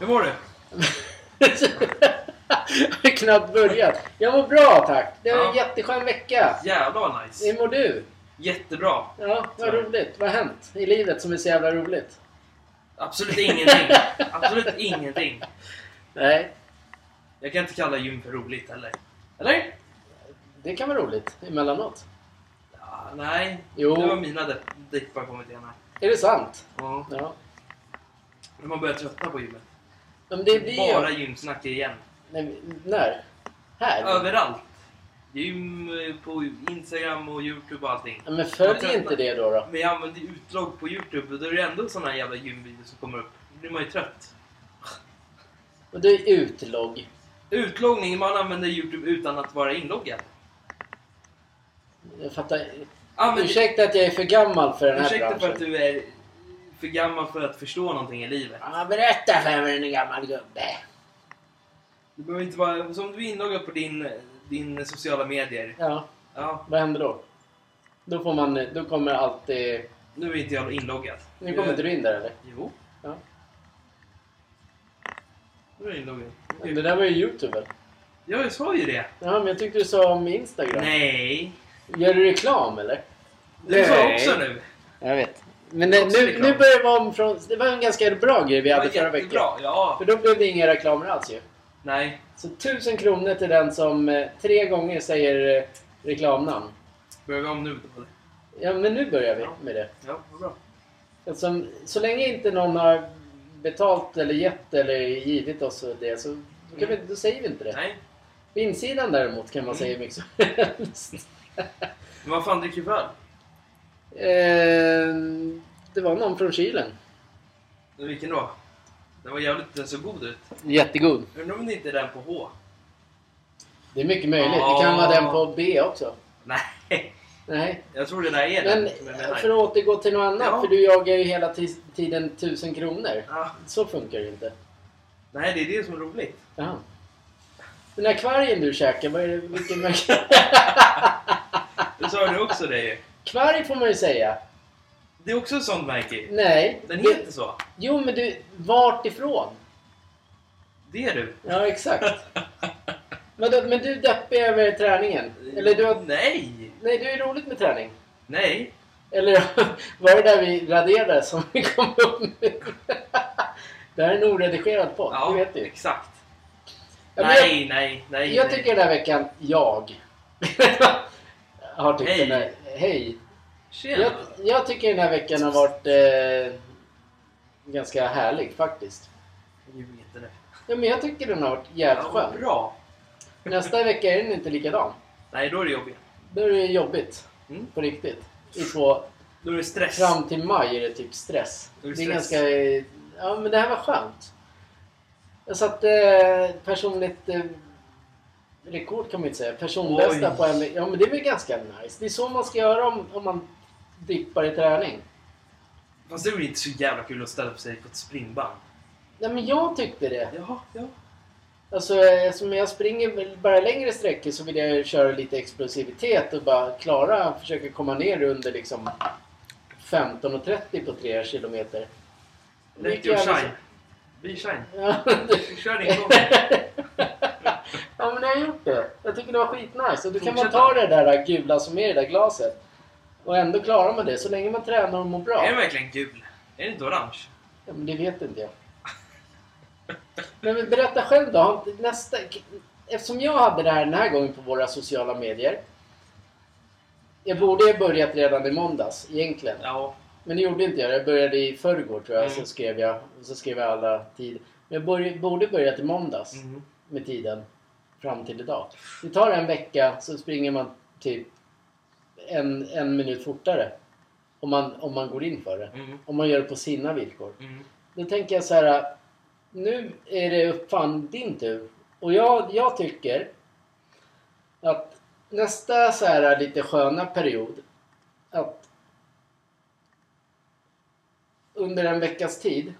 Hur mår du? Jag har knappt börjat. Jag mår bra tack. Det var en Ja. jätteskön vecka. Jävlar vad nice. Hur mår du? Jättebra. Ja, vad Så. roligt. Vad har hänt i livet som är så jävla roligt? Absolut ingenting. Absolut ingenting. Nej, Jag kan inte kalla gym för roligt heller. Eller? det kan vara roligt emellanåt. Ja, nej. Jo. Det var mina depp- dippar kommit igen här. Är det sant? Ja. Ja. Men Man börjar tröttna på gymmet. Men det blir Bara ju... gymsnack igen. Nej, När? Här? Överallt. Gym eh, på Instagram och Youtube och allting. Ja, Men följ inte det då. då. Men jag använder ju utdrag på Youtube och då är det ändå såna här jävla gymvideos som kommer upp. Då blir man ju trött. Och du är utlogg. Utloggning, man använder Youtube utan att vara inloggad. Jag fattar. Använder- Ursäkta att jag är för gammal för den här Ursäkta för att branschen. du är för gammal för att förstå någonting i livet. Ja, berätta för mig en gammal gubbe. Du behöver inte vara... Så om du är inloggad på din, din sociala medier. Ja, Ja, vad händer då? Då, får man, då kommer eh, alltid... nu är inte jag inloggad. Nu kommer Eh, inte du in där eller? Jo. Ja. Nu är jag inloggad. Det där var ju Youtube väl? Ja, jag sa ju det. Ja, men jag tyckte du sa om Instagram. Nej. Gör du reklam eller? Du sa Nej. också nu. Jag vet. Men Det är det, också nu, reklam. nu börjar det vara om från... Det var en ganska bra grej vi Det hade var förra veckan. jättebra. Ja. För då blev det inga reklamer alls ju. Nej. Så tusen kronor till den som eh, tre gånger säger eh, reklamnamn. Börjar vi om nu då? eller? Ja, men nu börjar vi Ja. med det. Ja, vad bra. Eftersom, så länge inte någon har betalt eller gett eller givit oss det så då, kan vi, då säger vi inte det. Nej. På insidan däremot kan man Mm. säga hur mycket som helst. Men vad fan dricker du för öl? Eh, det var någon från Kilen. Vilken då? Den var jävligt... Den såg god ut. Jättegod. Undrar om det inte är den på H? Det är mycket möjligt. Det kan vara den på B också. Nej. Nej. Jag tror det där är den. Men som jag menar. för att återgå till något annat, Ja. för du jagar ju hela tis- tiden tusen kronor. Ah, Så funkar det ju inte. nej, det är det som är roligt. Jaha. Den här kvargen du käkar, vad är det, vilken märke? Det sa du också det ju. Kvarg får man ju säga. Det är också ett sånt märke. Nej. Den det- heter så. Jo, men du, vart ifrån? Det är du. Ja, exakt. men, du, men du är deppig över träningen? Eller du har... Nej! Nej, du är roligt med träning. Nej! Eller var det där vi raderade som vi kom upp med? det här är en oredigerad podd, Ja, det vet du ju. exakt. Ja, men jag- nej, nej, nej. Jag nej. tycker den här veckan, jag, har tyckt Hej. den här... Hej! Tjena. Jag, jag tycker den här veckan har varit eh, ganska härlig faktiskt. Jag vet inte det. Ja, men jag tycker den har varit jävligt Ja, vad skön. bra. Nästa vecka är den inte likadan. Nej, då är det jobbigt. Då är det jobbigt. Mm. På riktigt. I två, Då är det stress. fram till maj är det typ stress. Då Det är det är stress. ganska... eh, Ja, men det här var skönt. Jag satte eh, personligt eh, rekord kan man inte säga. Personbästa Oj. på en Ja, men det är väl ganska nice. Det är så man ska göra om, om man dippar i träning. Fast det är väl inte så jävla kul att ställa sig på ett springband? Nej, men jag tyckte det. Jaha, ja. Alltså, eh, som jag springer väl bara längre sträckor så vill jag köra lite explosivitet och bara klara, försöka komma ner under liksom 15.30 på 3 kilometer. Det Let gick your jävligt shine. Be shine. så- Ja, det- Kör din gång. ja, men jag har gjort det. Jag tycker det var skitnice. Och då kan man Fortsätt ta det där gula som är i det där glaset och ändå klarar man det så länge man tränar och mår Är den bra. verkligen gul? Är den inte orange? Ja, men det vet inte jag. Men berätta själv då. har inte- Nästa... Eftersom jag hade det här den här gången på våra sociala medier. Jag borde ha börjat redan i måndags egentligen. Ja. Men det gjorde inte jag. Jag började i förrgår tror jag. Mm. Så skrev jag. Och så skrev jag alla tid. Men jag börj- borde börjat i måndags Mhm. med tiden fram till idag. Det tar en vecka så springer man typ en, en minut fortare. Om man, om man går in för det. Mhm. Om man gör det på sina villkor. Mhm. Då tänker jag så här. Nu är det upp fan din tur. Och jag, jag tycker att nästa så här lite sköna period att under en veckas tid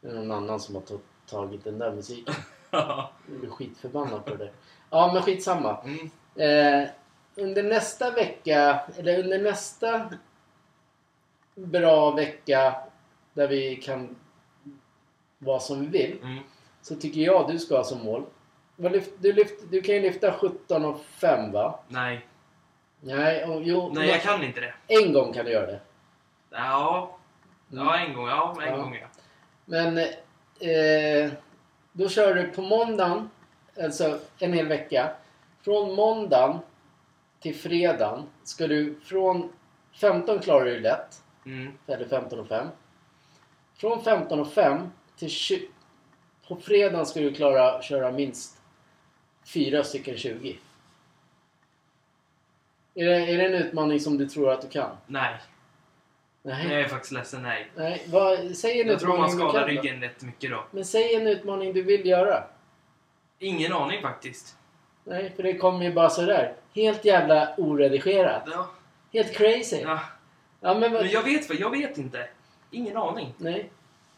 det är någon annan som har to- tagit den där musiken. Jag blir skitförbannad på det. Ja, men skitsamma. Mm. Eh, under nästa vecka, eller under nästa bra vecka där vi kan vad som vi vill. Mm. Så tycker jag du ska ha som mål. Vad lyft, du, lyft, du kan ju lyfta 17 och 5 va? Nej. Nej, och, jo. Nej, jag kan inte det. En gång kan du göra det. Ja. Ja, en gång. Ja, en Mm. Ja. gång ja. Men eh, då kör du på måndagen, alltså en hel vecka. Från måndagen till fredagen ska du från 15 klarar du ju lätt, Mm. eller 15 och 5. Från 15 och 5 till 20, på fredagen ska du klara köra minst fyra stycken 20. Är det, är det en utmaning som du tror att du kan? Nej. Nej. Jag är faktiskt ledsen. Nej. Nej. Vad, säg en Jag tror utmaning man du skadar kan då. ryggen rätt mycket då. Men säg en utmaning du vill göra. Ingen aning faktiskt. Nej, för det kommer ju bara sådär. Helt jävla oredigerat. Ja. Helt crazy. Ja, Ja. men, vad- Men jag vet vad, jag vet inte. Ingen aning. Nej.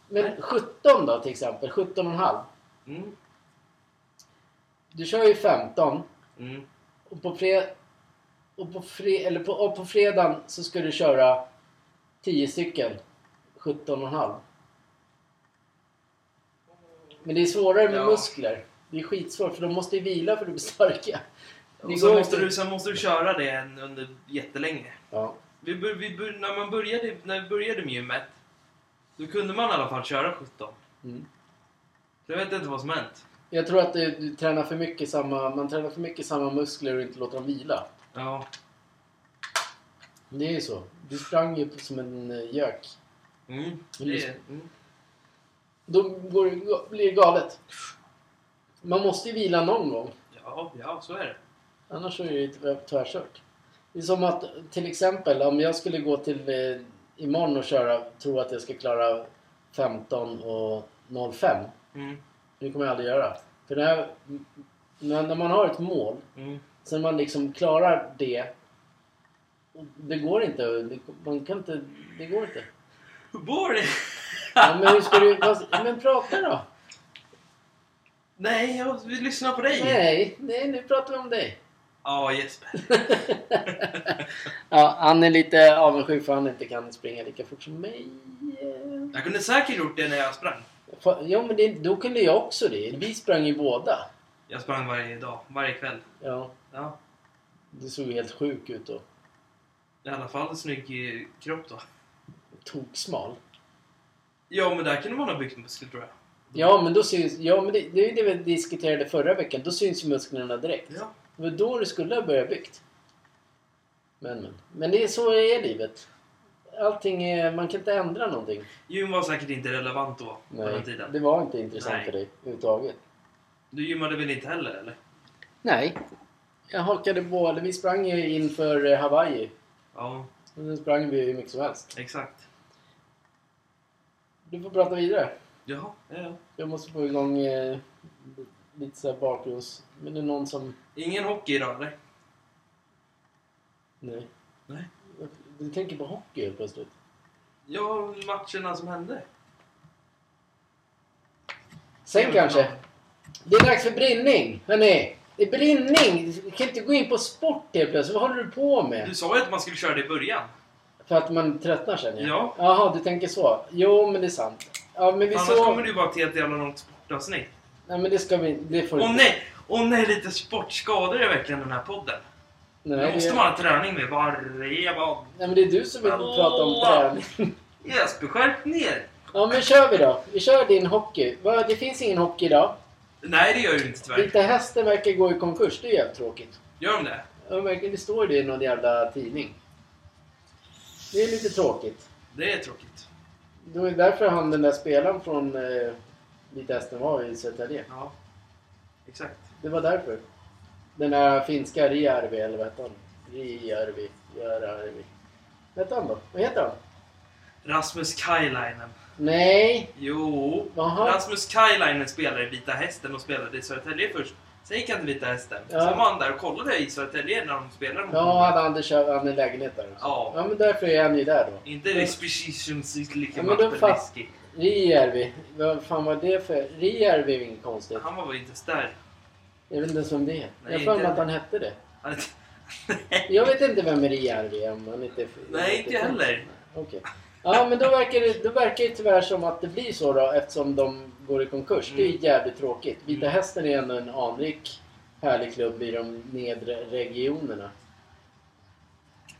Men Nej. 17 då till exempel. 17 och en halv. Mm. Du kör ju 15. Mm. Och på fred... Och på, fre, eller på, och på fredagen så ska du köra 10 stycken. 17 och en halv. Men det är svårare med Ja. muskler. Det är skitsvårt för de måste ju vila för att bli starka. Det Och så går måste, inte- du, sen måste du köra det en- under jättelänge. Ja. Vi, bör- vi, bör- när man började, när vi började med gymmet, då kunde man i alla fall köra 17. Mm. Så jag vet inte vad som hänt. Jag tror att du, du tränar för mycket samma, man tränar för mycket samma muskler och inte låter dem vila. Ja. Det är ju så. Du sprang ju på- som en eh, gök. Mm. Men det- Det, mm. Då går, det- ga- blir det galet. Man måste ju vila någon gång. Ja, ja, så är det. Annars så är det ju tvär- tvärkört. Det är som att till exempel om jag skulle gå till eh, imorgon och köra, tro att jag ska klara 15 och 05. Mm. Det kommer jag aldrig göra. För det här, när när man har ett mål Mm. Sen man liksom klarar det. och Det går inte. Det, man kan inte. Det går inte. Hur går det? Ja, men hur ska du... vad- Men prata då! Nej, jag vill lyssna på dig. Nej, nej nu pratar vi om dig. Ja, Jesper. Ja, han är lite avundsjuk för han inte kan springa lika fort som mig. Jag kunde säkert gjort det när jag sprang. Fa- Ja, men det, då kunde jag också det. Vi sprang ju båda. Jag sprang varje dag, varje kväll. Ja, Ja. du såg ju helt sjuk ut då. I alla fall en snygg eh, kropp då. Toksmal. Ja, men där kunde man ha byggt muskler tror jag. Ja, men då syns... Ja, men det, det är ju det vi diskuterade förra veckan. Då syns ju musklerna direkt. Ja. Det var då du skulle ha börjat byggt. Men, men. Men det är så är livet. Allting är, man kan inte ändra någonting. Gym var säkert inte relevant då, på Nej, den tiden. det var inte intressant Nej. för dig överhuvudtaget. Du gymmade väl inte heller, eller? Nej. Jag hakade på, eller vi sprang ju inför eh, Hawaii. Ja, Och Sen sprang vi hur mycket som helst. exakt. Du får prata vidare. Jaha, ja, ja. Jag måste få igång eh, lite så här bakgrunds... Men det är någon som... Ingen hockey idag, eller? Nej. Nej. Du tänker på hockey helt plötsligt. Ja, matcherna som hände. Sen kanske. Det är dags för brinning, hörni. Det är brinning! Vi kan inte gå in på sport helt plötsligt. Vad håller du på med? Du sa ju att man skulle köra det i början. För att man tröttnar känner jag. Ja. Jaha, du tänker så. Jo, men det är sant. Ja, men vi Annars såg... kommer det ju bara till ett jävla långt sportavsnitt. Nej, men det ska vi Det får Åh inte- nej! Åh nej, lite sportskador är verkligen den här podden. Nej, Nu måste det... man ha träning med varje dag. Nej, men det är du som vill Hallå! prata om träning. Jesper, skärp ner! Ja, men kör vi då. Vi kör din hockey. Va, Det finns ingen hockey idag. Nej, det gör ju inte tyvärr. Vita Hästen verkar gå i konkurs. Det är jävligt tråkigt. Gör de det? Ja, men verkligen, Det står ju det i någon jävla tidning. Det är lite tråkigt. Det är tråkigt. Det var ju därför han den där spelaren från eh, Vita Hästen var i Södertälje. Ja. Exakt. Det var därför. Den där finska Rijärvi, eller vad hette han? Rijärvi, Järvi. Vad hette han då? Vad heter han? Rasmus Kajlainen. Nej! Jo. Jaha. Rasmus Kajlainen spelade i Vita Hästen och spelade i Södertälje först. Sen gick han till Vita Hästen. Ja. Sen var han där och kollade i Södertälje när de spelade mot Ja, honom. hade han köpt han en lägenhet där också. Ja. ja, men därför är han ju där då. Inte Ja. Rispecisions lika Ja, men då fatt- Mappeliski. Rijärvi. Vad fan var det för... Rijärvi är ju inget konstigt. Han var väl inte ens där. Jag vet inte ens vem det är. Nej, jag har för mig inte att han hette det. Han- Jag vet inte vem Rijärvi är om han inte... Nej, inte jag heller. Okej. Ja, men då verkar, det, då verkar det tyvärr som att det blir så då eftersom de går i konkurs. Det Mm. är jävligt tråkigt. Vita Hästen är ändå en anrik, härlig klubb i de nedre regionerna.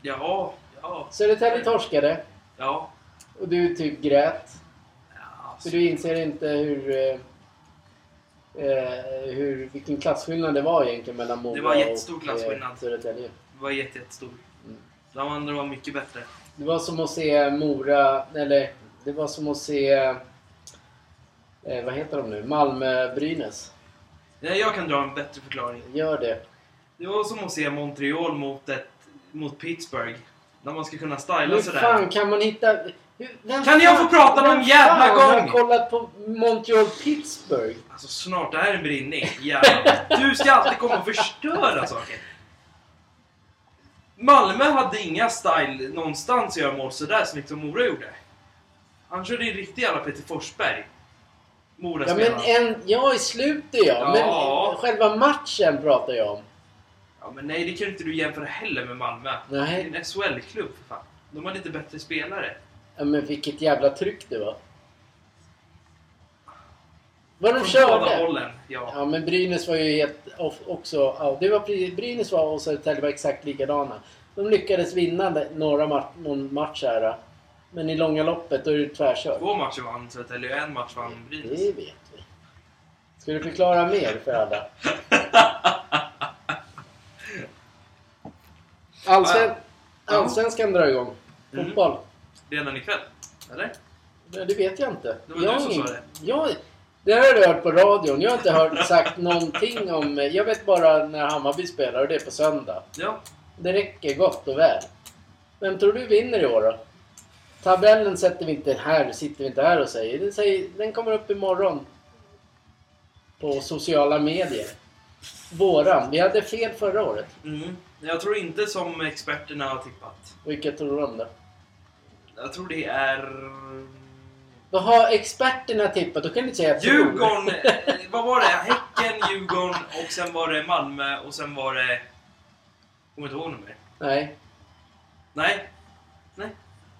Jaha, ja. Södertälje torskade Ja. och du typ grät. ja För alltså. du inser inte hur, eh, eh, hur, vilken klassskillnad det var egentligen mellan Mora Det var jättestor och, eh, klassskillnad. Södertälje. Det var jätte- jättestor. Mm. De andra var mycket bättre. Det var som att se Mora, eller det var som att se, eh, vad heter de nu, Malmö-Brynäs. Nej, jag kan dra en bättre förklaring. Gör det. Det var som att se Montreal mot, ett, mot Pittsburgh. När man ska kunna styla Hur sådär. fan kan man hitta... Hur, vem Kan jag få prata någon vem jävla fan gång? har kollat på Montreal Pittsburgh? Alltså snart, det här är en brinning. Jävlar. Du ska alltid komma och förstöra saker. Malmö hade inga style någonstans att göra mål sådär snyggt som Mora gjorde. Han körde ju riktigt jävla Peter Forsberg. Ja, men Mora-spelaren. en, ja, i slutet ja. Ja. Men själva matchen pratar jag om. Ja, men nej, det kan ju inte du jämföra heller med Malmö. Det Nej, är en SHL-klubb för fan. De har lite bättre spelare. ja, men vilket jävla tryck det var. Vad de Från båda körde. hållen, ja. Ja, men Brynäs var ju helt off också. Ja, det var, pre- Brynäs var och Södertälje var exakt likadana. De lyckades vinna de- några ma- någon match här. då. Men i långa loppet då är det tvärkört. Två matcher vann Södertälje och en match vann Brynäs. Det vet vi. Ska du förklara mer för alla? Allsven... Ja. Allsvenskan drar igång. Mm. Fotboll. Redan ikväll? Eller? Nej, Det vet jag inte. Det var jag du har som ingen- sa det. Jag, det har jag hört på radion. Jag har inte hört sagt någonting om... Jag vet bara när Hammarby spelar och det är på söndag. Ja. Det räcker gott och väl. Vem tror du vinner i år då? Tabellen sätter vi inte här, sitter vi inte här och säger. Den, säger, den kommer upp imorgon. På sociala medier. Våran. Vi hade fel förra året. Mm. Jag tror inte som experterna har tippat. Vilka tror de då? Jag tror det är... Vad har experterna tippat? Då kan du inte säga tror. Djurgården, eh, vad var det? Häcken, Djurgården och sen var det Malmö och sen var det... Kommer inte ihåg något mer. Nej. Nej. Nej.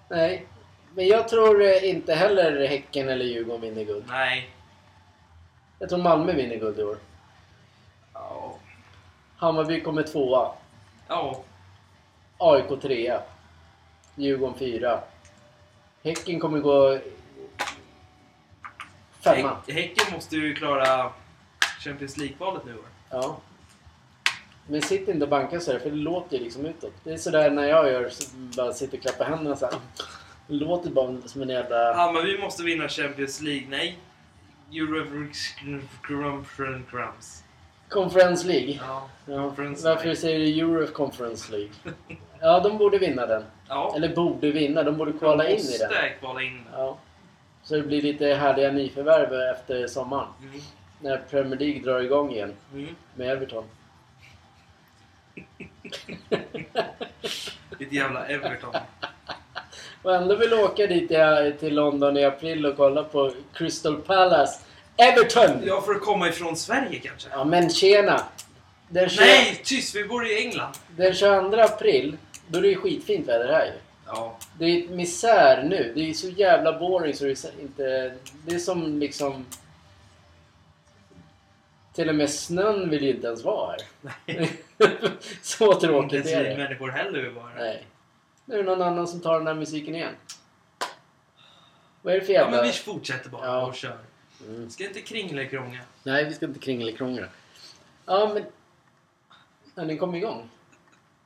Nej. Men jag tror eh, inte heller Häcken eller Djurgården vinner guld. Nej. Jag tror Malmö vinner guld i år. Ja. Hammarby kommer tvåa. Ja. AIK trea. Djurgården fyra. Häcken kommer gå femma. Häck- Häcken måste ju klara Champions League-valet nu i år. Ja. Men sitt inte och banka sådär, för det låter ju liksom utåt. Det är sådär när jag gör, så bara sitter och klappar händerna såhär. Det låter bara som en jävla... Hammarby måste vinna Champions League, nej. Euroconference. Conference League. Ja. Ja. Conference Varför säger du Euro Conference League? Ja, de borde vinna den. Ja. Eller borde vinna, de borde kvala in i den. Måste kvala in den. Ja. Så det blir lite härliga nyförvärv efter sommaren. Mm. När Premier League drar igång igen Mm. med Everton. Ditt jävla Everton. Och ändå vill jag åka dit i- till London i april och kolla på Crystal Palace Everton! Ja, för att komma ifrån Sverige kanske? Ja men tjena! Den, tjugo- Nej, tyst! Vi bor i England. den 22 april, då är det ju skitfint väder här ju. Ja. Det är ett misär nu. Det är så jävla boring så det är så- inte... Det är som liksom... Till och med snön vill ju inte ens vara här. Nej, så inte tråkigt ens är vi det. människor heller vill vara här. Nej. Nu är det någon annan som tar den här musiken igen. Vad är det för Ja, jävla... men vi fortsätter bara Ja. och kör. Mm. Ska inte kringla och krångla. Nej, vi ska inte kringelikrångla. Ja, men... Ja, den kom igång.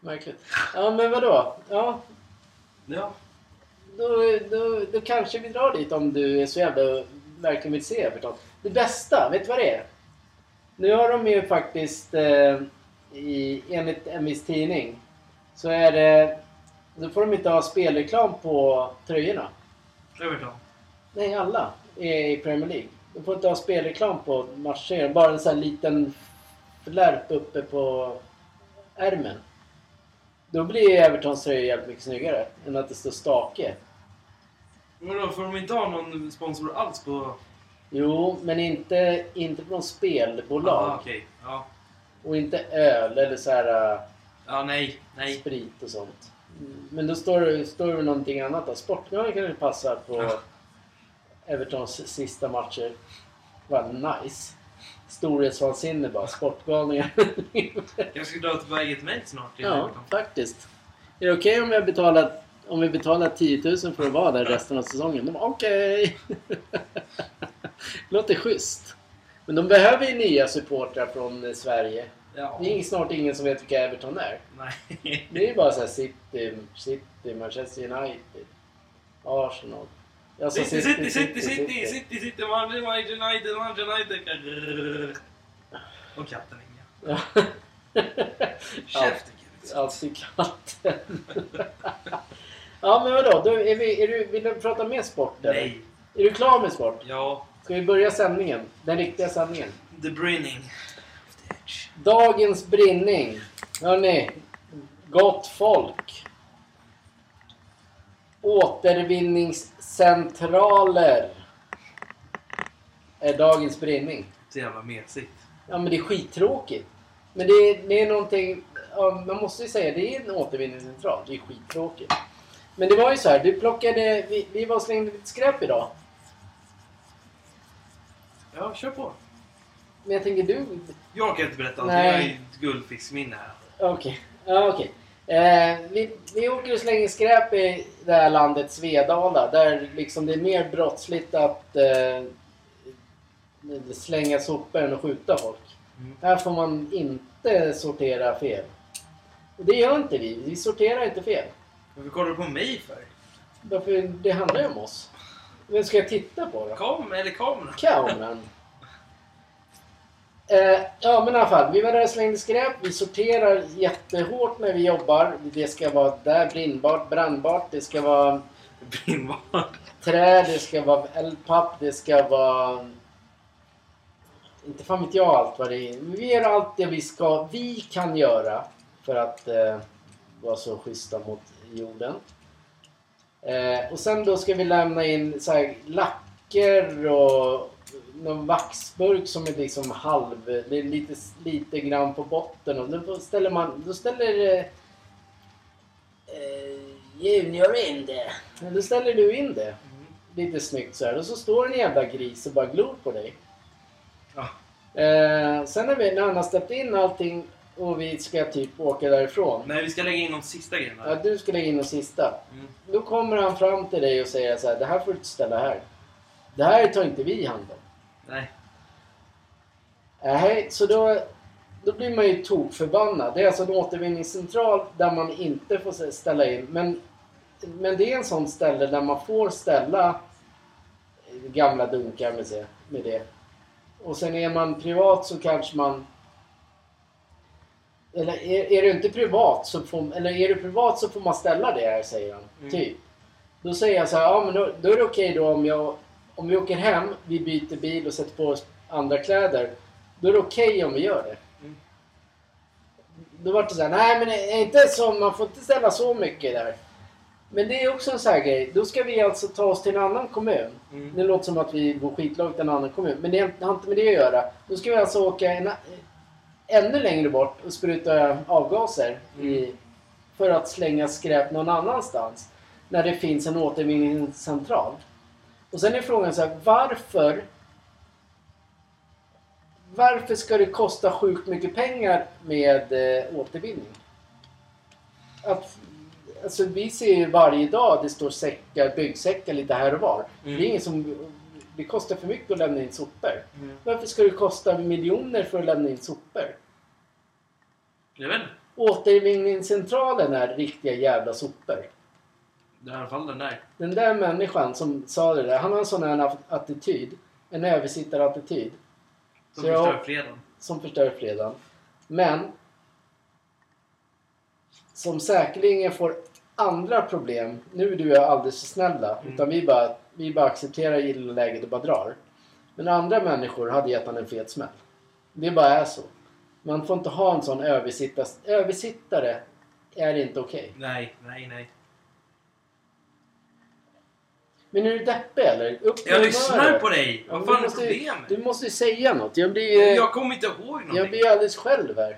Märkligt. Ja, men vadå? Ja, Ja. då, då, då kanske vi drar dit om du är så jävla verkligen vill se Everton. Det bästa, vet du vad det är? Nu har de ju faktiskt, eh, i, enligt en viss tidning, så är det... Då får de inte ha spelreklam på tröjorna. Everton. Nej, alla är i Premier League. De får inte ha spelreklam på matcher. Bara en sån här liten flärp uppe på ärmen. Då blir ju Evertons tröja jävligt mycket snyggare än att det står stake. Vadå, får de inte ha någon sponsor alls på... Jo, men inte, inte från spelbolag. Ah, okej. Ja. Och inte öl eller så här äh, ja, nej. Nej. sprit och sånt. Men då står, det- står det någonting annat då. Sportbladet kanske passar på Ja. Evertons sista matcher. Vad nice. Storhetsvansinne bara. Sportgalningar. Jag ska dra ett väget mejl snart. till ja, Everton. faktiskt. Är det okej om jag betalar om vi betalar 10 000 för att vara där resten av säsongen? De bara, okej. Låter schysst. Men de behöver ju nya supportrar från eh, Sverige. Ja. Det är snart ingen som vet vilka Everton är. Nej. Det är ju bara såhär City, City, Manchester United, Arsenal. Alltså, Jag sa City, city, city, city, city, city, Malmö, United, Manchester United. Och katten Inga. Ja. Käften Kevin. Alltid katten. ja men vadå, då är vi, är du, vill du prata mer sport? eller? Nej. Är du klar med sport? Ja. Ska vi börja sändningen? Den riktiga sändningen. The Brinning. of the Edge. Dagens brinning. Hörni, gott folk. Återvinningscentraler är dagens brinning. Så jävla mesigt. Ja men det är skittråkigt. Men det är, det är någonting, ja, man måste ju säga det är en återvinningscentral. Det är skittråkigt. Men det var ju så här, du plockade, vi, vi var och slängde lite skräp idag. Ja, kör på. Men jag tänker du, Jag kan inte berätta allt. Nej. Jag är ju ett guldfiskminne här. okej. Ja, okej. Eh, vi, vi åker och slänger skräp i det här landet Svedala. Där liksom det är mer brottsligt att eh, slänga sopor än att skjuta folk. Mm. Här får man inte sortera fel. Och det gör inte vi. Vi sorterar inte fel. Varför kollar du på mig för? Därför det handlar ju om oss. Vem ska jag titta på då? Kom, eller kameran. Kaunan. Eh, ja men i alla fall, vi var där och slängde skräp. Vi sorterar jättehårt när vi jobbar. Det ska vara där brinnbart, brandbart. Det ska vara Brinnbad. trä, det ska vara eldpapp, det ska vara... Inte fan vet jag allt vad det är. Men Vi gör allt det vi ska, vi kan göra för att eh, vara så schyssta mot jorden. Eh, och sen då ska vi lämna in så här lacker och någon vaxburk som är liksom halv, det är lite, lite grann på botten och då ställer man, då ställer eh, eh, Junior in det. Men Då ställer du in det Mm. lite snyggt så här. Och så står en jävla gris och bara glor på dig. Ja. Eh, sen när, vi, när han har släppt in allting och vi ska typ åka därifrån. Nej, vi ska lägga in de sista grejerna. Ja, du ska lägga in och sista. Mm. Då kommer han fram till dig och säger så här. Det här får du inte ställa här. Det här tar inte vi hand om. Nej. Nej, så då, då blir man ju tokförbannad. Det är alltså en återvinningscentral där man inte får ställa in. Men, men det är en sån ställe där man får ställa gamla dunkar med det. Med det. Och sen är man privat så kanske man... Eller är, är du inte privat så får, eller är du privat så får man ställa det här, säger han. Mm. Typ. Då säger jag så här, ja men då, då är det okej då om jag... Om vi åker hem, vi byter bil och sätter på oss andra kläder. Då är det okej om vi gör det. Mm. Då vart det såhär, nej men det är inte så, man får inte ställa så mycket där. Men det är också en sån här grej. Då ska vi alltså ta oss till en annan kommun. Mm. Det låter som att vi bor skitlångt i en annan kommun, men det har inte med det att göra. Då ska vi alltså åka en, ännu längre bort och spruta avgaser i, för att slänga skräp någon annanstans. När det finns en återvinningscentral. Och sen är frågan så här, varför varför ska det kosta sjukt mycket pengar med eh, återvinning? Att, alltså, vi ser ju varje dag att det står säckar, byggsäckar lite här och var. Mm. Det, är ingen som, det kostar för mycket att lämna in sopor. Mm. Varför ska det kosta miljoner för att lämna in sopor? Jag vet inte. Återvinningscentralen är riktiga jävla sopor. Det är I alla fall den där. Den där människan som sa det där, han har en sån här attityd. En översittarattityd. Som Så jag- förstör fredagen. som förstör fredagen. Men som säkerligen får andra problem. Nu är du och jag alldeles för snälla. Mm. Utan vi bara, vi bara accepterar gillar läget och bara drar. Men andra människor hade gett han en fet smäll. Det bara är så. Man får inte ha en sån översittare. Översittare är inte okej. Nej, nej, nej. Men är du deppig eller? Upp med Jag lyssnar humöret. på dig! Ja, men Vad fan är du måste ju- problemet? Du måste ju säga något. Jag blir ju, Jag kommer inte ihåg jag någonting. blir ju alldeles själv här. I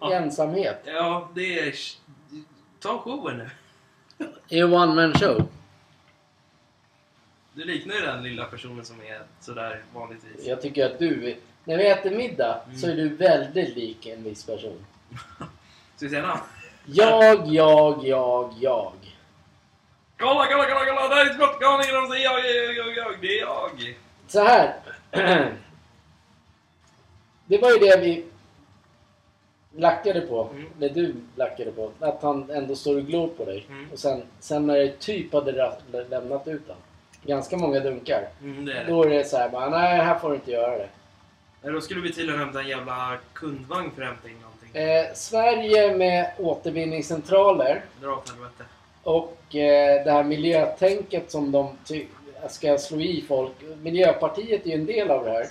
Ja. ensamhet. ja, det är... Ta showen nu. I en one man show. Du liknar ju den lilla personen som är sådär vanligtvis. Jag tycker att du, när vi äter middag Mm. så är du väldigt lik en viss person. Ska vi se namn? Jag, jag, jag, jag. Kolla, kolla, kolla, kolla! Där är skottgalningen! De säger jag, jag, jag, jag, det är jag! Så här. Det var ju det vi lackade på. Mm. Eller du lackade på. Att han ändå står och glor på dig. Mm. Och sen, sen när det typ hade ra- lämnat ut han. Ganska många dunkar. Mm, det är det. Då är det så här bara, nej här får du inte göra det. Nej, Då skulle vi tydligen hämta en jävla kundvagn för att hämta in någonting. Eh, Sverige med återvinningscentraler Dra åt helvete. och eh, det här miljötänket som de ty- ska slå i folk. Miljöpartiet är ju en del av det här.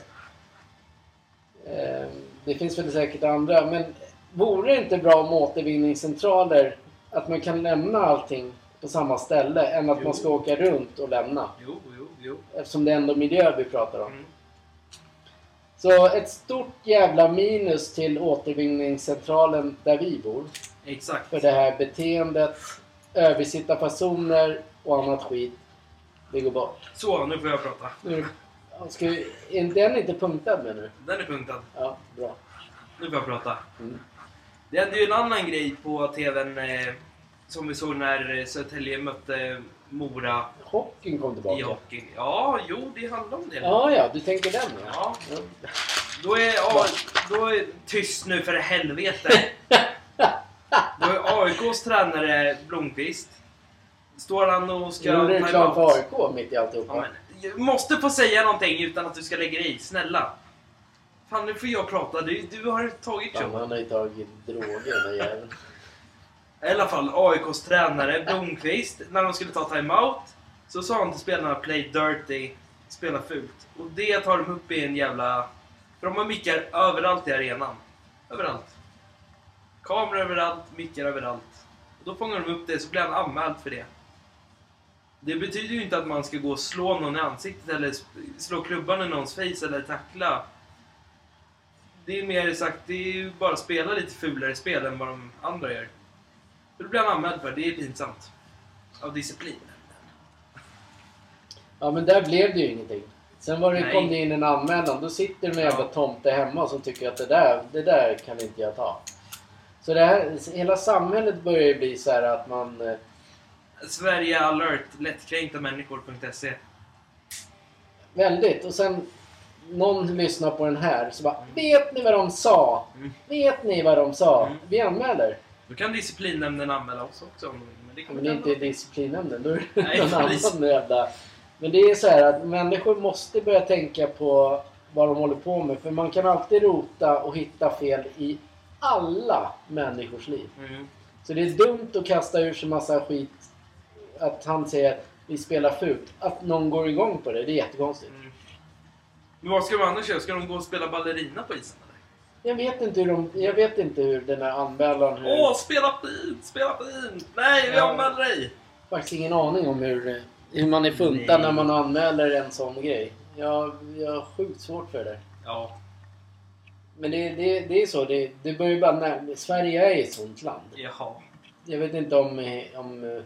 Eh, det finns väl säkert andra, men vore det inte bra om återvinningscentraler, att man kan lämna allting på samma ställe än att Jo. man ska åka runt och lämna? Jo, jo, jo. Eftersom det är ändå miljö vi pratar om. Mm. Så ett stort jävla minus till återvinningscentralen där vi bor. Exakt. för det här beteendet, översitta personer och annat skit. Det går bort. Så, nu får jag prata. Nu, ska vi, är den inte punktad med nu? Den är punktad. Ja, bra. Nu får jag prata. Mm. Det hände ju en annan grej på TVn eh, som vi såg när eh, Södertälje mötte Mora Hockeyn kom tillbaka. i hockey. Ja, jo, det handlar om det. Ja, ja, du tänker den ja. Ja, Då är, A- då är tyst nu för helvete. Då är AIKs tränare Blomqvist. Står han och ska... Gjorde du ta reklam emot? för AIK mitt i Ja, men, alltihopa? jag måste få säga någonting utan att du ska lägga dig i. Snälla. Fan, nu får jag prata. Du, du har tagit Fan, show. han har ju tagit droger den jäveln. I alla fall AIKs tränare Blomqvist. När de skulle ta timeout så sa han till spelarna play dirty, spela fult. Och det tar de upp i en jävla... För de har mickar överallt i arenan. Överallt. Kameror överallt, mickar överallt. Och då fångar de upp det så blir han anmäld för det. Det betyder ju inte att man ska gå och slå någon i ansiktet eller sp- slå klubban i någons face eller tackla. Det är mer sagt, det är ju bara att spela lite fulare spel än vad de andra gör. För då blir han anmäld för det, det är pinsamt. Av disciplin. Ja, men där blev det ju ingenting. Sen var det, Nej. kom det in en anmälan. Då sitter det en jävla Ja. tomte hemma som tycker att det där, det där kan inte jag ta. Så det här, hela samhället börjar ju bli så här att man... eh, Sverige alert, lättkränkta människor.se. Väldigt. Och sen någon lyssnar på den här så bara Vet ni vad de sa? Mm. Vet ni vad de sa? Mm. Vi anmäler. Då kan disciplinnämnden anmäla oss också om de vill, men det kommer Men det är inte inte hända. disciplinnämnden. Då är det Nej, någon precis. annan jävla... Men det är så här att människor måste börja tänka på vad de håller på med. För man kan alltid rota och hitta fel i alla människors liv. Mm. Så det är dumt att kasta ur sig massa skit. Att han säger att vi spelar fult. Att någon går igång på det, det är jättekonstigt. Mm. Men vad ska de annars göra? Ska de gå och spela ballerina på isen eller? Jag vet inte hur, de, jag vet inte hur den här anmälan... Hur, Åh, spela fint! Spela fint! Nej, vi Ja. anmäler dig! faktiskt ingen aning om hur, hur man är funtad Nej. när man anmäler en sån grej. Jag, jag har sjukt svårt för det där. Ja. Men det, det, det är så. Det, det börjar ju bara... när- Sverige är ett sånt land. Jaha. Jag vet inte om, eh, om eh,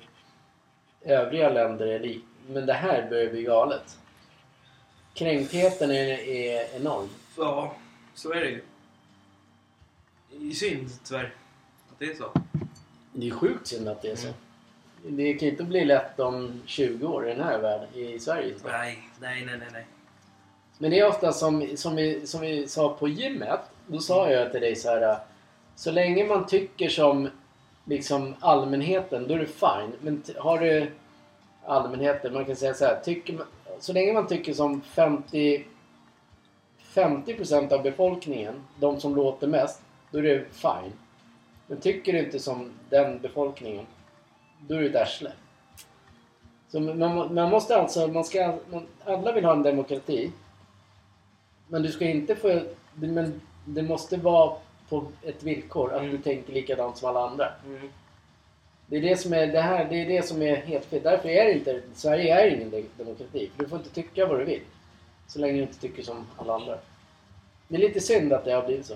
övriga länder är lik. Men det här börjar bli galet. Kränktheten är, är enorm. Ja, så är det ju. I synd tyvärr. Att det är så. Det är sjukt synd att det är så. Det kan ju inte bli lätt om 20 år i den här världen, i Sverige. Nej, nej, nej, nej. nej. Men det är ofta som, som, vi, som vi sa på gymmet. Då sa jag till dig så här. Så länge man tycker som liksom allmänheten, då är det fine. Men t- har du allmänheten, man kan säga så här. Tycker man, så länge man tycker som 50, 50% av befolkningen, de som låter mest, då är det fine. Men tycker du inte som den befolkningen, då är du ett arsle. Så man, man måste alltså, man ska, man, alla vill ha en demokrati. Men du ska inte få... det- Men det måste vara på ett villkor att Mm. du tänker likadant som alla andra. Mm. Det är det som är det här, det är det som är helt fel. Därför är det inte, Sverige är ingen de- demokrati. För du får inte tycka vad du vill. Så länge du inte tycker som alla andra. Det är lite synd att det har blivit så.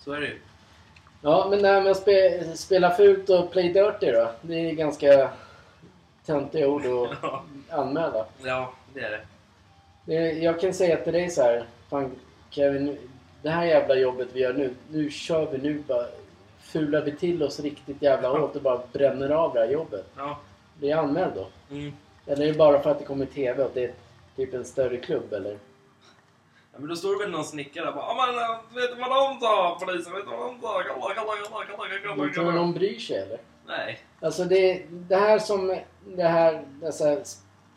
Så är det ju. Ja, men det här med att spe, spela fult och play dirty då. Det är ganska töntiga ord att Ja. anmäla. ja, det är det. Det- Jag kan säga till dig så här. Fan Kevin, det här jävla jobbet vi gör nu. Nu kör vi nu bara. Fular vi till oss riktigt jävla hårt och bara bränner av det här jobbet. Ja. Blir jag anmäld då? Mm. Eller är det bara för att det kommer TV och det är typ en större klubb eller? Ja, men då står det väl någon snickare och bara "Ja, men, eh, vet du vad de sa polisen? Vet du vad de sa? Kolla, kolla, kolla, kolla, kolla, Tror du kolla. någon bryr sig eller? Nej. Alltså det, det här som det här, dessa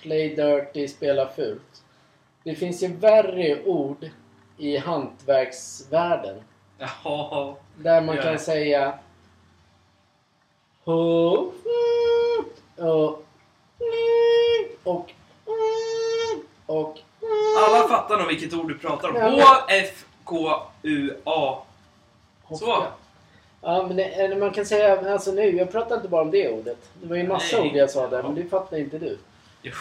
play dirty, spela fult. Det finns ju värre ord i hantverksvärlden. Jaha. Där man Ja. kan säga ho, och och och Alla fattar nog vilket ord du pratar om. Ja, men- H-F-K-U-A. Så. Ja, men det, eller man kan säga, alltså nu, jag pratar inte bara om det ordet. Det var ju en massa Nej. ord jag sa där, men det fattar inte du. Jo.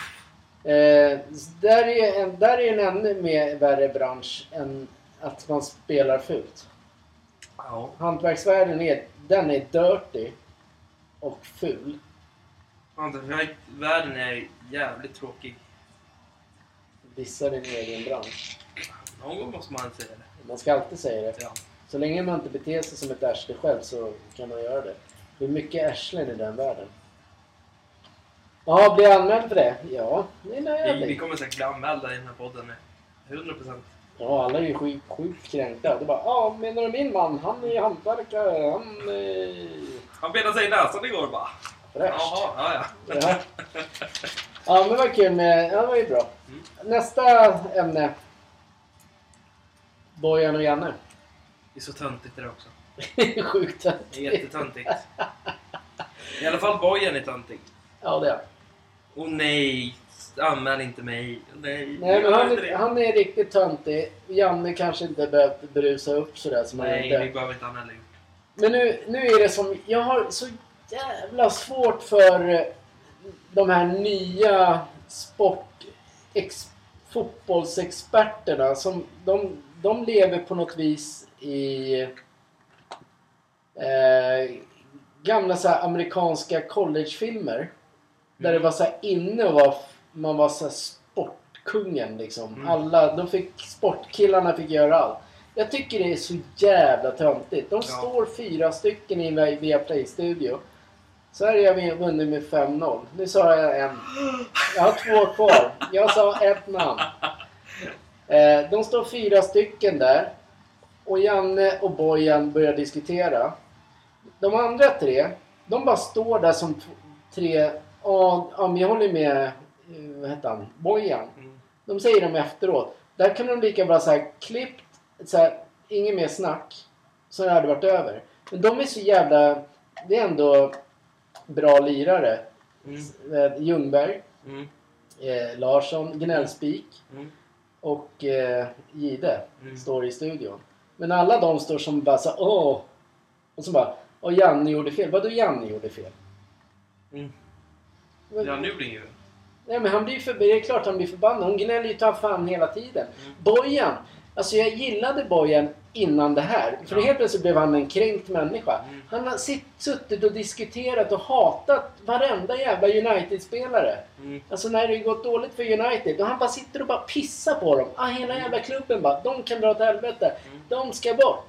Eh, så där är ju en, där är ju en ännu mer värre bransch än att man spelar fult. Ja. Hantverksvärlden är, den är dirty och ful. Hantverk- Världen är jävligt tråkig. Dissar din egen bransch. Någon gång måste man säga det. Man ska alltid säga det. Ja. Så länge man inte beter sig som ett arsle själv så kan man göra det. Det är mycket arslen i den världen. Ja, blir jag anmäld för det? Ja, det är Vi, vi nödvändigt. kommer säkert bli anmälda i den här podden nu. 100%. Ja, alla är ju sjukt sjuk kränkta. Det är bara, ja, menar du min man? Han är ju hantverkare. Han är Han petade sig i näsan igår bara. fräsch. Jaha, ja, ja. Ja. ja, men vad kul med... Ja, det var ju bra. Mm. Nästa ämne. Bojan och Janne. Det är så töntigt det där också. Sjukt Det är jättetöntigt. I alla fall bojen är töntig. Ja, det är han. Åh nej, anmäl inte mig. Nej, Nej, men gör han, inte det. är- han är riktigt töntig. Janne kanske inte behövt brusa upp sådär som han Nej, vi gjorde. behöver inte anmäla gjort. Men nu, nu är det som... Jag har så jävla svårt för eh, de här nya sport... Ex, fotbollsexperterna som... De, de lever på något vis i... Eh, gamla så här, amerikanska collegefilmer. Där det var så här, inne och var, man var så här, sportkungen liksom. Mm. Alla, de fick, sportkillarna fick göra allt. Jag tycker det är så jävla töntigt. De Ja. står fyra stycken i en Viaplay-studio. Sverige har vunnit med 5-0. Nu sa jag en. Jag har två kvar. Jag sa ett namn. Eh, De står fyra stycken där. Och Janne och Bojan börjar diskutera. De andra tre, de bara står där som t- tre... Ja, ja, men jag håller med... eh, Vad heter han? Bojan. Mm. De säger dem efteråt. Där kan de lika bra så här klippt, så här, inget mer snack. Så det hade varit över. Men de är så jävla... Det är ändå bra lirare. Mm. Eh, Ljungberg, Mm. eh, Larsson, Gnällspik Mm. och eh, Gide Mm. står i studion. Men alla de står som bara så här, åh. Och så bara, åh Janne gjorde fel. Vadå Janne gjorde fel? Mm. Men- Ja, nu blir det ju... Nej men han blir för, det är klart han blir förbannad. Hon gnäller ju ta fan hela tiden. Mm. Bojan. Alltså jag gillade Bojan innan det här. För Ja. helt plötsligt blev han en kränkt människa. Mm. Han har sitt, suttit och diskuterat och hatat varenda jävla United-spelare. Mm. Alltså när det gått dåligt för United och han bara sitter och bara pissar på dem. Ah, hela jävla klubben bara. De kan dra åt helvete. Mm. De ska bort.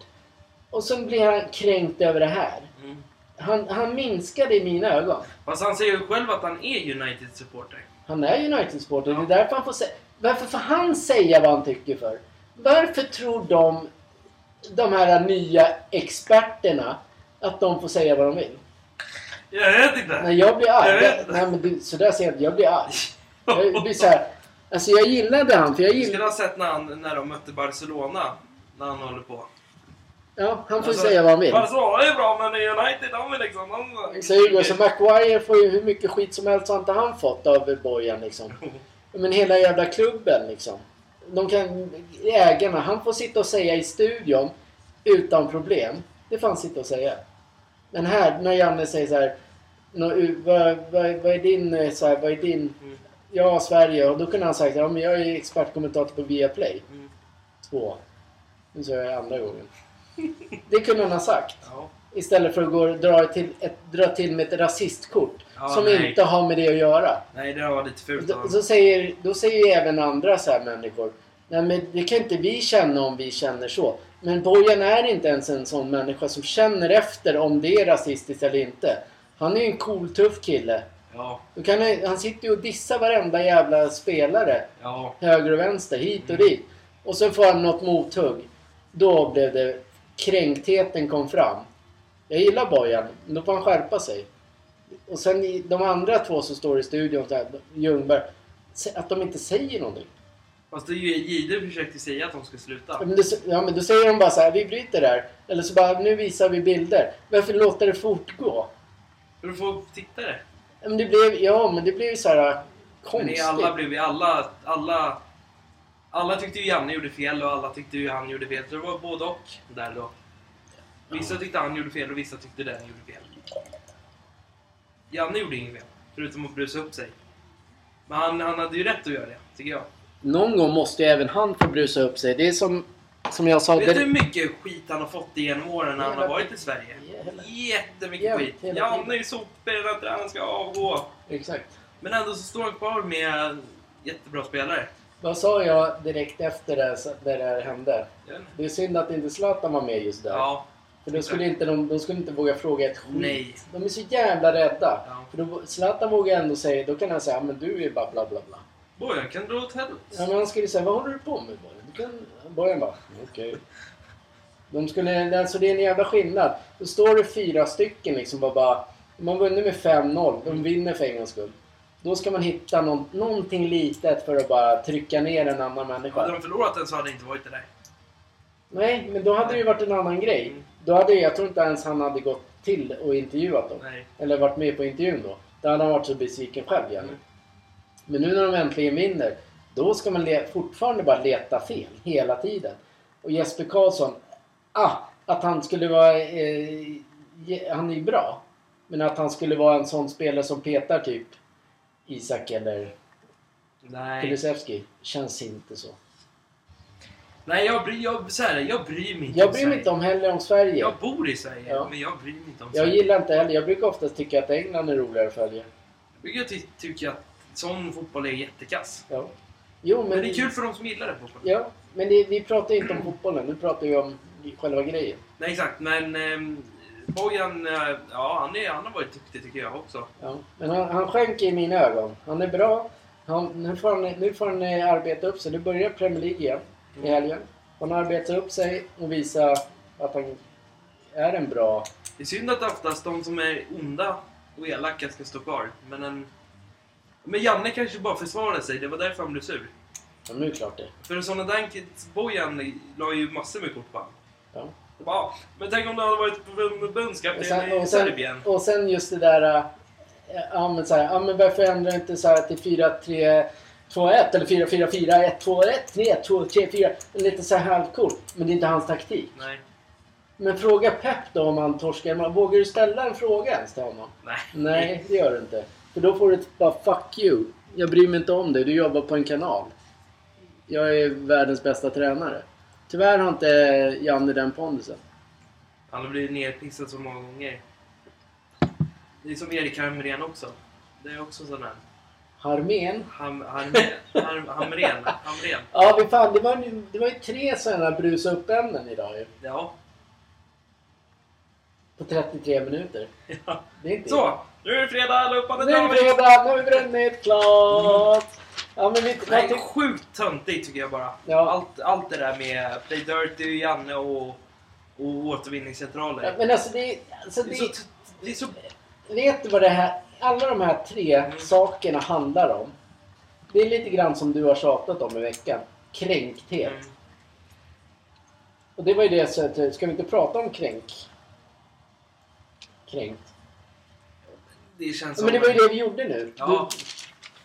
Och sen blir han kränkt över det här. Mm. Han, han minskade i mina ögon. Fast han säger ju själv att han är United-supporter. Han är United-supporter. Ja. Det är därför han får säga... Varför får han säga vad han tycker för? Varför tror de, de här nya experterna, att de får säga vad de vill? Jag vet inte! När jag blir arg. Jag vet. nej, men du, så där säger jag inte. Jag blir arg. Jag blir så här, alltså jag gillade han för jag Du skulle gillade... ha sett när, han, när de mötte Barcelona. När han håller på. Ja, han får ju Alltså, säga vad han vill. Barcelona är bra, men United, de är liksom... De... Så Hugo, så Maguire får ju hur mycket skit som helst har inte han fått av Bojan liksom. Men hela jävla klubben liksom. De kan, ägarna, han får sitta och säga i studion utan problem. Det får han sitta och säga. Men här, när Janne säger så här. "Nå, u- Vad, vad, vad är din, eh, så här, vad är din, Mm. ja Sverige. Och då kunde han sagt, ja men jag är expertkommentator på Viaplay. Mm. Två. Nu sa jag det andra gången. Det kunde han ha sagt. Ja. Istället för att gå, dra, till ett, dra till med ett rasistkort. Ja, som nej. inte har med det att göra. Nej, det var lite fult av Då, honom. så säger, då säger ju även andra så här människor. Nej men det kan inte vi känna om vi känner så. Men Bojan är inte ens en sån människa som känner efter om det är rasistiskt eller inte. Han är ju en cool, tuff kille. Ja, Då kan han, han sitter ju och dissar varenda jävla spelare. ja. Höger och vänster, hit och dit. Och sen får han något mothugg. Då blev det... Kränktheten kom fram. Jag gillar Bojan, men då får han skärpa sig. Och sen i- de andra två som står i studion, så här, Ljungberg. se- Att de inte säger någonting. Fast det är ju Jihde försökte säga att de skulle sluta. Ja, men, då, s- ja, men då säger de bara så här, vi bryter där. Eller så bara, nu visar vi bilder. Varför låter det fortgå? För att få tittare. Ja, Men det blev, ja, men det blev ju så här äh, Men konstigt. det alla blev ju alla, alla... Alla tyckte ju Janne gjorde fel och alla tyckte ju han gjorde fel. Så det var både och där då. Vissa tyckte han gjorde fel och vissa tyckte den gjorde fel. Janne gjorde inget fel, förutom att brusa upp sig. Men han, han hade ju rätt att göra det, tycker jag. Någon gång måste ju även han få brusa upp sig. Det är som, som jag sa... Vet du hur mycket skit han har fått genom åren när han har Jävlar. varit i Sverige? Jävlar. Jättemycket Jämt, skit. hela Janne tiden. är ju sopig, den här tränaren ska avgå. Exakt. Men ändå så står han kvar med jättebra spelare. Vad sa jag direkt efter det, här- det där hände? Jag vet inte. Det är synd att inte Zlatan var med just där. Ja, För då skulle inte de, de skulle inte våga fråga ett skit. Nej. De är så jävla rädda. Ja. För då, Zlatan vågar ändå säga, då kan han säga, "Ja, men du är bara bla bla bla. Bojan kan dra åt Ja, helvete. men han skulle säga, vad håller du på med Bojan? Du kan... Bojan bara, okej. De skulle, alltså det är en jävla skillnad. Då står det fyra stycken liksom och bara, de har vunnit med Mm. 5-0, de vinner för en gångs skull. Då ska man hitta någon, någonting litet för att bara trycka ner en annan människa. Hade de förlorat den så hade det inte varit det där. Nej, men då hade det ju varit en annan grej. Då hade, jag tror inte ens han hade gått till och intervjuat dem. Nej. Eller varit med på intervjun då. Då hade han varit så besviken själv Janne. Mm. Men nu när de äntligen vinner, då ska man le- fortfarande bara leta fel hela tiden. Och Jesper Karlsson, ah, att han skulle vara... Eh, ge- han är ju bra. Men att han skulle vara en sån spelare som petar typ Isak eller Nej. Kulusevski känns inte så. Nej, jag bryr, jag, så här, jag bryr mig inte Jag om bryr mig Sverige. inte om heller om Sverige. Jag bor i Sverige, Ja. men jag bryr mig inte om Jag Sverige. gillar inte heller, jag brukar oftast tycka att England är roligare att följa. Jag ty- tycker att sån fotboll är jättekass. Ja. Jo, men, Men det är kul för de som gillar den fotbollen. Ja, men det, vi pratar ju inte om fotbollen, nu pratar vi om själva grejen. Nej, exakt. Men ehm, Bojan, eh, ja, han, är, han har varit duktig tycker jag också. Ja. Men han, han sjönk i mina ögon. Han är bra. Han, nu, får han, nu får han eh, arbeta upp sig. Nu börjar Premier League igen i Mm. helgen. Han arbetar upp sig och visar att han är en bra... Det är synd att oftast de som är onda och elaka ska stå kvar. Men, en, men Janne kanske bara försvarade sig, det var därför han blev sur. Ja, nu är det klart det. För sådana där kids, Bojan la ju massor med kort på honom. Ja. Jag bara, "Ah, Men tänk om du hade varit Och förbundskapten sen, i och, sen, Serbien? och sen just det där... eh, Ja men, så här, ja, men varför ändrar du inte så här till 4-3-2-1 eller 4-4-4-1-2-1, 3-2-3-4? Lite så här halvcool. Men det är inte hans taktik. Nej. Men fråga Pep då om han torskar. Man- Vågar du ställa en fråga ens till honom? Nej. Nej, det gör du inte. För då får du ett bara fuck you. Jag bryr mig inte om dig. Du jobbar på en kanal. Jag är världens bästa tränare. Tyvärr har inte Janne den pondusen. Han har blivit nerpissad så många gånger. Det är som Erik Hamrén också. Det är också sån här. Harmen. Ham, Hamrén. Ham, Hamrén. Hamrén. Ja, vi fan, det var, ju- det var ju tre sådana brusa upp-ämnen idag ju. Ja. På 33 minuter. ja. Det är inte Så! Nu är det fredag allihopa! Nu är det fredag, nu har vi brunnit klart! Ja, men vi, jag Nej, tyck- sjukt töntigt tycker jag bara. Ja. Allt, allt det där med Play Dirty, Janne och, och återvinningscentraler. men alltså det... Alltså, det, är så, t- det är så... Vet du vad det här, alla de här tre sakerna handlar om? Det är lite grann som du har tjatat om i veckan. Kränkthet. Mm. Och det var ju det jag sa, att ska vi inte prata om kränk? Kränkt. Det känns Ja, som... Men det var ju det vi gjorde nu. Ja.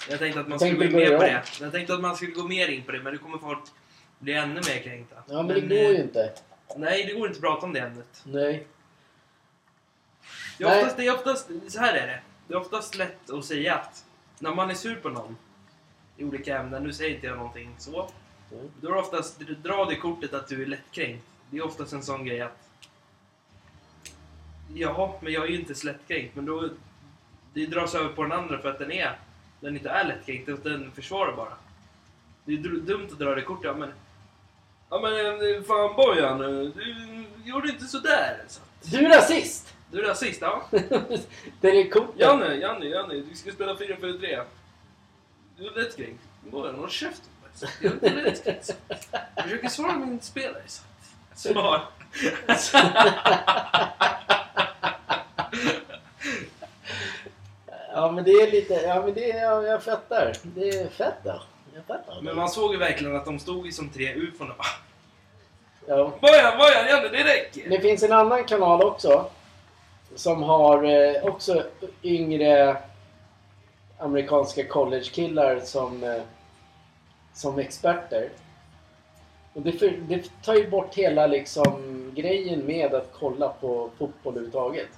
Du, Jag tänkte att man Jag skulle gå tänkte mer börja på om. det. Jag tänkte att man skulle gå mer in på det, men nu kommer folk bli ännu mer kränkta. ja men, det går eh, ju inte. Nej, det går inte att prata om det ämnet. Nej. Det är Nej. oftast, det är oftast, så här är det. Det är oftast lätt att säga att när man är sur på någon i olika ämnen, nu säger inte jag någonting så. Mm. Då är det oftast, dra det kortet att du är lättkränkt. Det är oftast en sån grej att Jaha, men jag är ju inte slättkränkt. Men då... Det dras över på den andra för att den är... Den inte är lättkränkt, utan den försvarar bara. Det är dr- dumt att dra det kortet. Ja, men... Ja men eh, fan Bojan, eh, du gjorde inte sådär. Så. alltså. Du är rasist! Du är rasist, ja. det är coolt. Janne, Janne, Janne, du ska spela 4 för 3 Du är lättkränkt. Bojan, håll käften. så. Jag är inte lättkränkt. så. Jag försöker svara min spelare. så. Svar. Ja men det är lite, ja men det är, ja, jag fattar. Det är fett då. Jag fattar. Men man såg ju verkligen att de stod ju som tre ufon och bara ja. Bojan, Bojan, Janne, det räcker! Det finns en annan kanal också. Som har eh, också yngre amerikanska collegekillar som, eh, som experter. Och det, för, det tar ju bort hela liksom, grejen med att kolla på fotboll överhuvudtaget.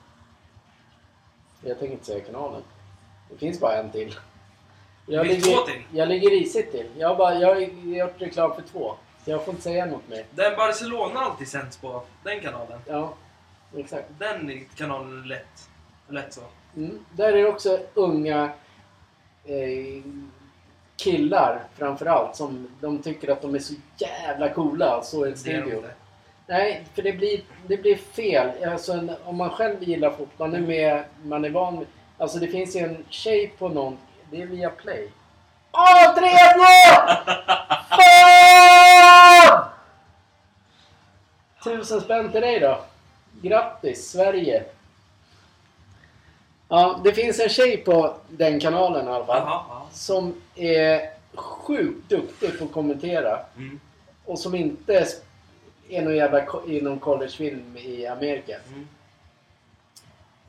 Jag tänker inte säga kanalen. Det finns bara en till. Jag Det finns ligger, två till. Jag ligger risigt till. Jag, har bara, jag har gjort reklam för två. Så jag får inte säga något mer. Den Barcelona alltid sänds på, den kanalen. Ja, exakt. Den kanalen är lätt. Lätt så. Mm. Där är det också unga eh, killar framförallt som de tycker att de är så jävla coola så i en Det är de studio. inte. Nej, för det blir, det blir fel. Alltså en, om man själv gillar fotboll, man är med, man är van med, Alltså det finns ju en tjej på någon, det är via play. Åh, 3 Fan! Tusen spänn till dig då. Grattis Sverige. Ja, det finns en tjej på den kanalen i alla fall. Jaha, ja. Som är sjukt duktig på att kommentera. Mm. Och som inte är någon jävla ko- inom collegefilm i Amerika. Mm.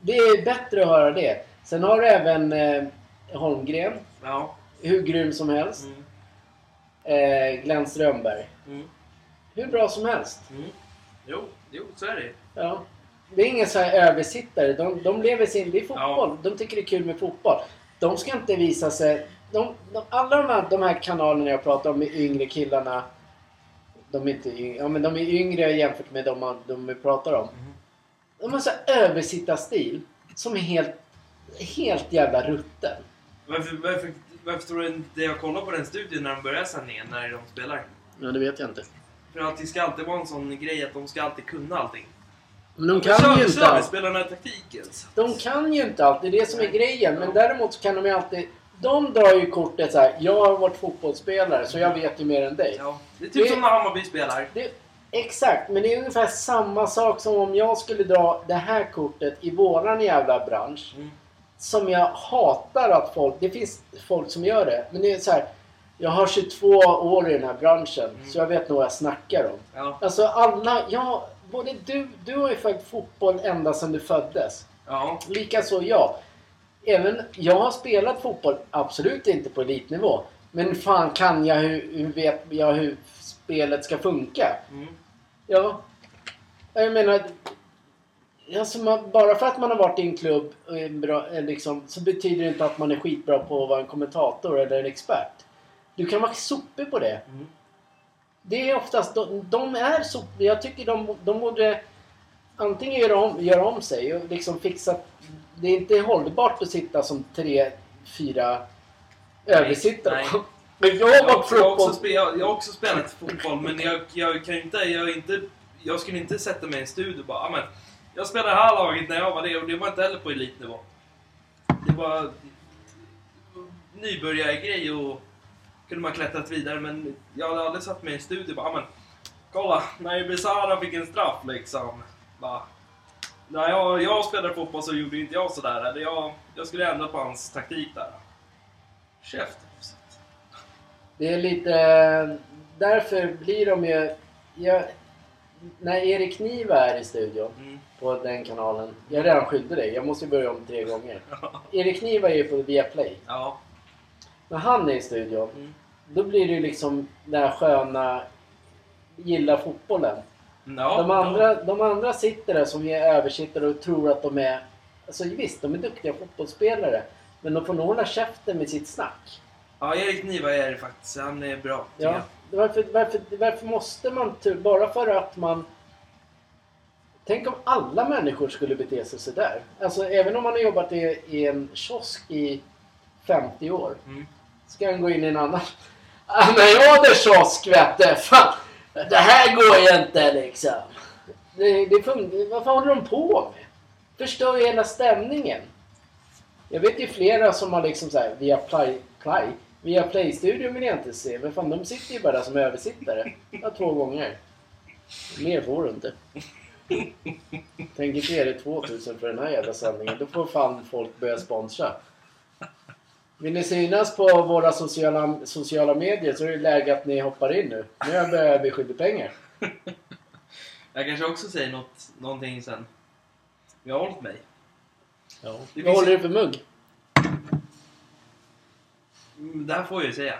Det är bättre att höra det. Sen har du även eh, Holmgren, Ja. hur grym som helst. Mm. Eh, Glenn Strömberg, Mm. hur bra som helst. Mm. Jo, jo, så är det ju. Ja. Det är inga så här översittare. De, de lever sin... Det är fotboll. De tycker det är kul med fotboll. De ska inte visa sig... De, de, alla de här, de här kanalerna jag pratar om med yngre killarna. De är, inte yngre, ja, men de är yngre jämfört med de, man- de vi pratar om. Mhm. De har så här översittarstil som är helt, helt jävla rutten. Varför, varför, varför tror du inte jag kollar på den studion när de börjar sändningen, när de spelar? Ja, det vet jag inte. För att det ska alltid vara en sån grej att de ska alltid kunna allting. Men de kan ju inte allt. Spelarna är taktiken. så. De kan ju inte allt, det är det som är grejen. Men däremot så kan de ju alltid... De drar ju kortet så här. jag har varit fotbollsspelare så jag vet ju mer än dig. Ja. Det är typ Det- som när Hammarby spelar. Det, exakt, men det är ungefär samma sak som om jag skulle dra det här kortet i våran jävla bransch. Mm. Som jag hatar att folk... Det finns folk som gör det, men det är så här. Jag har 22 år i den här branschen, så jag vet nog vad jag snackar om. Ja. Alltså alla, ja, både du, du har ju följt fotboll ända sedan du föddes. Ja. Likaså jag. Även jag har spelat fotboll, absolut inte på elitnivå. Men fan kan jag hur, hur vet jag hur spelet ska funka? Mm. Ja. Jag menar... Alltså man, bara för att man har varit i en klubb och är en bra, eh, liksom, så betyder det inte att man är skitbra på att vara en kommentator eller en expert. Du kan vara sopig på det. Mm. Det är oftast... De, de är sopiga. Jag tycker de, de borde antingen göra om, göra om sig och liksom fixa... Det är inte hållbart att sitta som tre, fyra översittare. nej. Men jag Jag har har varit också, jag har också, fotboll... spe, jag, jag har också spelat fotboll, men jag, jag kan ju inte... Jag, är inte, jag skulle inte sätta mig i en studio och bara "Ah, men Jag spelade det här laget när jag var det och det var inte heller på elitnivå. Det var nybörjargrej och kunde man klättrat vidare, men jag hade aldrig satt mig i en studio och bara "Ah, men Kolla, när Besara fick en straff liksom. Bara, när jag, jag spelade fotboll så gjorde inte jag sådär. Eller jag, jag skulle ändra på hans taktik där. Käften. Det är lite... Därför blir de ju... Jag, när Erik Niva är i studion Mm. på den kanalen. Jag redan skyllde dig, jag måste börja om tre gånger. Erik Niva är ju på Viaplay. Ja. När han är i studion, Mm. då blir det ju liksom den här sköna... Gilla fotbollen. Ja, De andra, de andra sitter där som är översittare och tror att de är... Alltså visst, de är duktiga fotbollsspelare. Men de får nog hålla käften med sitt snack. Ja, Erik Niva är det faktiskt. Han är bra. tycker typ, Ja. Varför, varför, varför måste man... tur- Bara för att man Tänk om alla människor skulle bete sig sådär. Alltså även om man har jobbat i, i en kiosk i 50 år. Mm. Ska han gå in i en annan? Ah, men jag hade kiosk vet du. Fan, det här går ju inte liksom. Det, det funkar. Vad fan håller de på med? Förstör ju hela stämningen. Jag vet ju flera som har liksom såhär, via Play, play via Playstudion vill jag inte se. Men fan, de sitter ju bara där som översittare. Ja, två gånger. Mer får du inte. Tänk inte ge dig 2000 för den här jävla sändningen. Då får fan folk börja sponsra. Vill ni synas på våra sociala, sociala medier så är det läge att ni hoppar in nu. Nu har jag börjat bli skyldig pengar. Jag kanske också säger något, någonting sen. Jag har hållit mig. Ja. Det Vad finns- håller du för mugg? Mm, Det här får jag ju säga.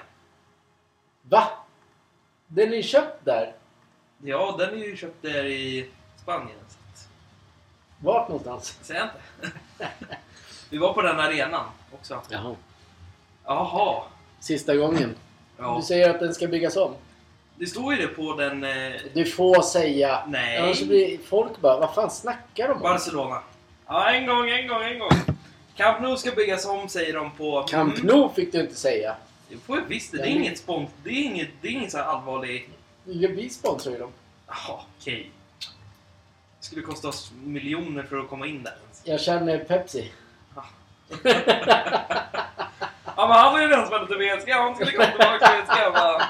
Va? Den är köpt där? Ja, den är ju köpt där i Spanien. Så att... Vart någonstans? Säger jag inte. Vi var på den arenan också. Jaha. Jaha. Sista gången. Ja. Du säger att den ska byggas om. Det står ju det på den... Eh... Du får säga. Nej. Annars blir folk bara, vad fan snackar de om? Barcelona. Ja, en gång, en gång, en gång. Camp Nou ska byggas om säger de på... Camp Mm, Nou fick du inte säga. Det får jag visst det. Det är Nej. inget spons... Det är inget, det är inget så här allvarlig... Ja, vi sponsrar ju dem. Jaha, okej. Det skulle kosta oss miljoner för att komma in där. Jag känner Pepsi. Ja, men han var ju den som hade lite vätska. Han skulle komma tillbaka till vätska. Jag bara,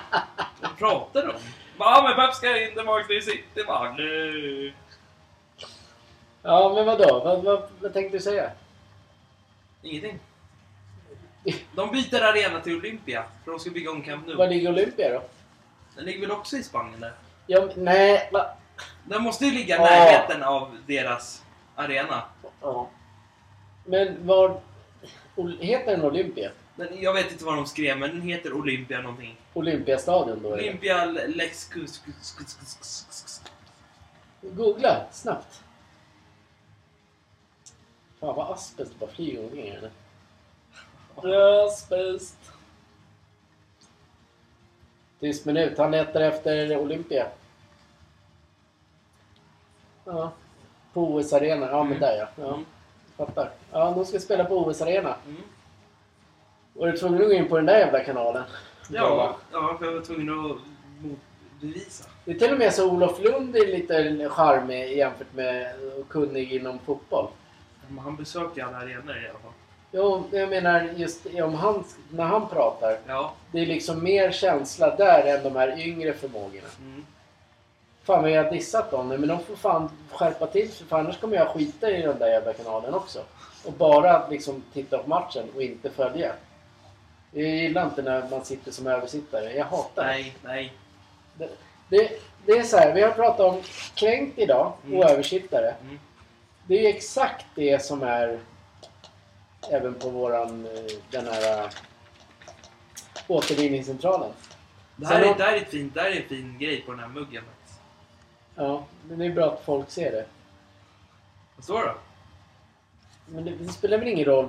Vad pratar de om? Bara, Ja, men Pep ska in tillbaka till city. Bara, nu. Ja, men vadå? Vad, vad, vad tänkte du säga? Ingenting. De byter arena till Olympia för de ska bygga om Camp Var Nou. ligger Olympia då? Den ligger väl också i Spanien där? Ja, men- nej, va? Den måste ju ligga i Ja. närheten av deras arena. Ja. Men var... Ol- Heter den Olympia? Den, jag vet inte vad de skrev, men den heter Olympia någonting. Olympiastadion då? eller? Olympia Lex... Kus- Kus- Kus- Kus- Kus- Kus- Googla snabbt. Fan vad asbest bara flyger omkring här nu. Asbest. Tyst minut, han letar efter Olympia. Ja. På OS arena, ja men där ja. ja. Mm. Fattar. Ja, de ska spela på OS arena. Mm. Var du tvungen att gå in på den där jävla kanalen? Ja, ja, för jag var tvungen att motbevisa. Det är till och med så Olof Lund är lite charmig jämfört med och kunnig inom fotboll. Men han besöker alla arenor i alla fall. Jo, jag menar just om han, när han pratar. Ja. Det är liksom mer känsla där än de här yngre förmågorna. Mm. Fan vad jag har dissat dem nu, men de får fan skärpa till sig för annars kommer jag skita i den där jävla kanalen också. Och bara liksom titta på matchen och inte följa. Jag gillar inte när man sitter som översittare. Jag hatar det. Nej, nej. Det, det. Det är så här, vi har pratat om kränkt idag och Mm. översittare. Mm. Det är ju exakt det som är även på våran, eh, den här eh, återvinningscentralen. Det här, Sen är, har- det, här är ett fint, det här är en fin grej på den här muggen. faktiskt. Ja, men det är bra att folk ser det. Vad står det? Men det, det spelar väl ingen roll.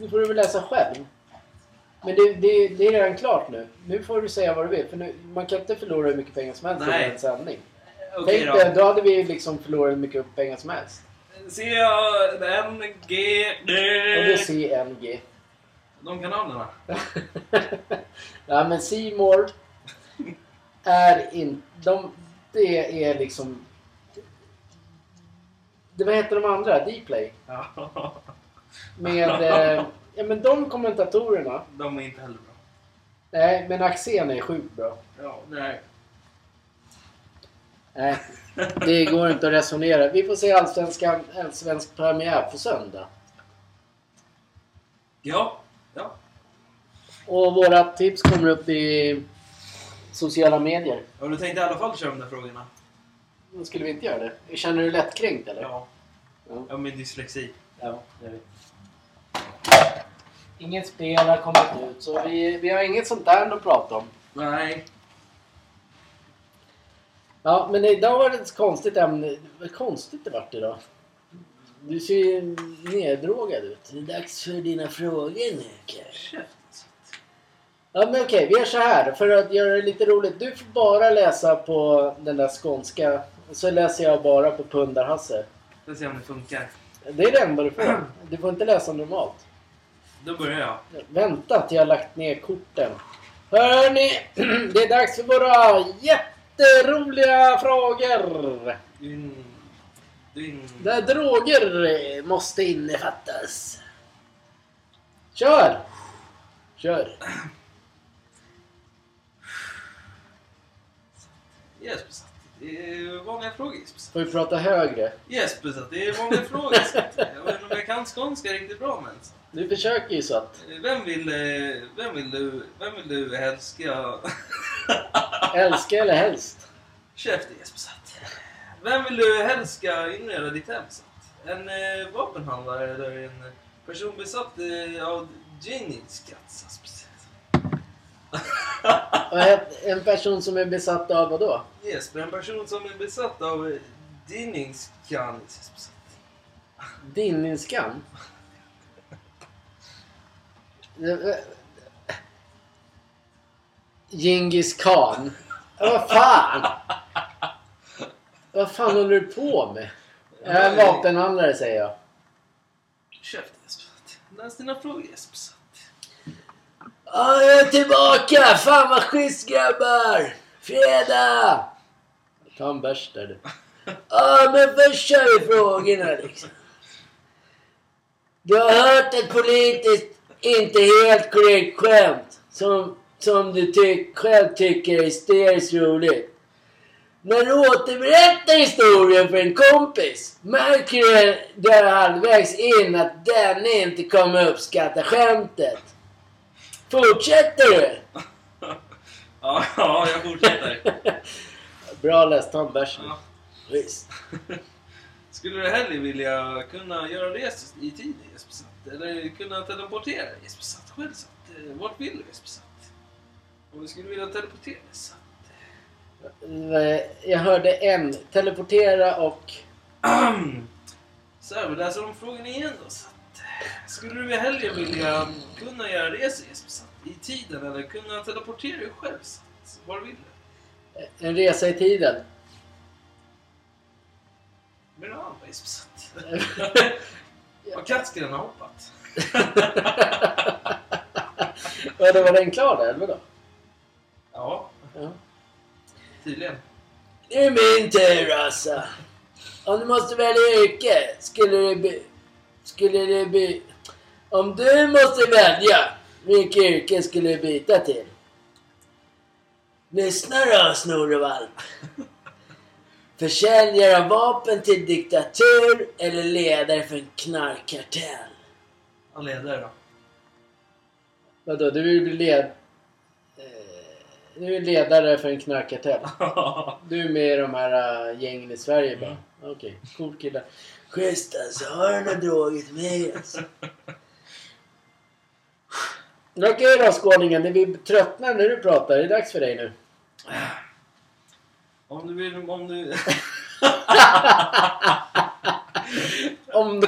Nu får du väl läsa själv. Men det, det, det är redan klart nu. Nu får du säga vad du vill. För nu, man kan inte förlora hur mycket pengar som helst Nej. under en sändning. Okej Tänk dig, då. då hade vi liksom förlorat hur mycket pengar som helst. C, A, eh, N, G, Och det är D. CNG. De kanalerna. Nej men Seymour är inte... De, det är liksom... Det, vad heter de andra? Dplay? Ja. Med... Eh, ja men de kommentatorerna. De är inte heller bra. Nej, men Axén är sjukt bra. Ja, nej. Nej, det går inte att resonera. Vi får se allsvenskan, allsvensk premiär på söndag. Ja, ja. Och våra tips kommer upp i sociala medier. ja du tänkte i alla fall köra de där frågorna? Men Skulle vi inte göra det? Känner du dig lättkränkt eller? Ja. Ja. Ja, min dyslexi. Ja, det är vi. Inget spel har kommit ut, så vi, vi har inget sånt där att prata om. Nej. Ja, men idag var det ett konstigt ämne. Vad konstigt det vart idag. Du ser ju neddrogad ut. Det är dags för dina frågor nu kanske. Käft. Ja, men okej, vi gör så här för att göra det lite roligt. Du får bara läsa på den där skånska Så läser jag bara på Pundar-Hasse. Ska se om det funkar. Det är det enda du får. Du får inte läsa normalt. Då börjar jag. Vänta till jag har lagt ner korten. Hörni, det är dags för våra jätteroliga frågor. In, in. Där droger eh, måste innefattas. Kör! Kör. Jesper satt. Det är vanliga frågor Jesper satt. Får vi prata högre? Jesper satt. Det är vanliga frågor satt. Jag vet inte om jag kan skånska riktigt bra men. satt. Du försöker ju så att. Vem vill, eh, vem vill du, vem vill du helst ska... Älska eller helst? Käften Jesper satt. Vem vill du helst ska inreda ditt hem satt? En eh, vapenhandlare eller en eh, person besatt eh, av Ginny's guts satt precis. Och ett- En person som är besatt av vad då? Jesper, en person som är besatt av eh, Dinnings guts Jesper satt. Dinningskam? Genghis khan? Ja, Vad fan! Vad fan håller du på med? Jag är en vapenhandlare säger jag. Käften Jesper satt. Läs dina frågor Jesper satt. Ja, jag är tillbaka! Fan vad schysst grabbar! Fredag! Ta en bärs där du. Ja, men först kör vi frågorna liksom. Du har hört ett politiskt inte helt korrekt skämt som, som du tyck, själv tycker är hysteriskt roligt. När du återberättar historien för en kompis märker du där halvvägs in att denne inte kommer uppskatta skämtet. Fortsätter du? Ja, ja, jag fortsätter. Bra läst, ta en bärs nu. Ja. Visst. Skulle du hellre vilja kunna göra resor i tiden Jesper Satt? Eller kunna teleportera Jesper Satt själv Satt? Eh, Vart vill du Jesper Satt? Om du skulle vilja teleportera Satt? Nej, Eh, Jag hörde en. Teleportera och... Så här, vi läser om frågan igen då Satt. Skulle du hellre vilja kunna göra resor Jesper Satt? I tiden eller kunna teleportera dig själv Satt? Var vill du? En eh, resa i tiden. Men du har Jesper Satt. Har kattskrällarna hoppat? Ja, det var den klar där, eller vadå? Ja, Ja. tydligen. Nu är min tur alltså. Om du måste välja yrke, skulle det bli... Skulle det bli... Om du måste välja, vilket yrke skulle du byta till? Lyssna då, Snorrevalp. Försäljare av vapen till diktatur eller ledare för en knarkkartell? Han leder då. Vadå, du vill bli led... eh, Du är ledare för en knarkkartell? Du är med i de här äh, gängen i Sverige bara? Okej, cool kille. Schysst alltså, har du några droger till mig alltså? Okej då skåningen, vi tröttnar när du pratar. Det är dags för dig nu. Om du vill, om du... Om Om du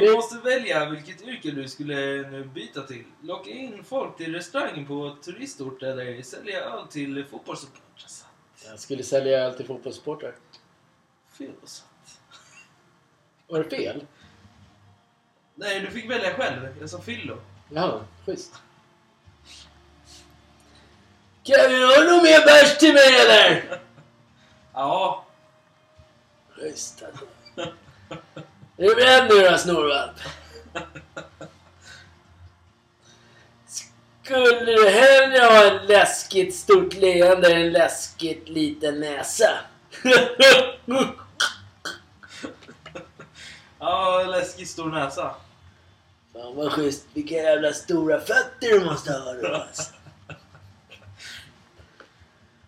du... måste välja vilket yrke du skulle nu byta till. Locka in folk till restaurangen på turistort eller sälja öl till fotbollssupportrar. Alltså, Satt. Jag skulle sälja öl till fotbollssupportrar. Fel och satt. Var det fel? Nej, du fick välja själv. Jag sa fyllo. Jaha, schysst. Kan vi ha någon mer bärs till mig eller? Ja, Schysst alltså. Är du beredd nu då Snorvalp? Skulle du hellre ha ett läskigt stort leende än en läskigt liten näsa? ja läskig stor näsa. Fan vad schysst. Vilka jävla stora fötter du måste ha då alltså.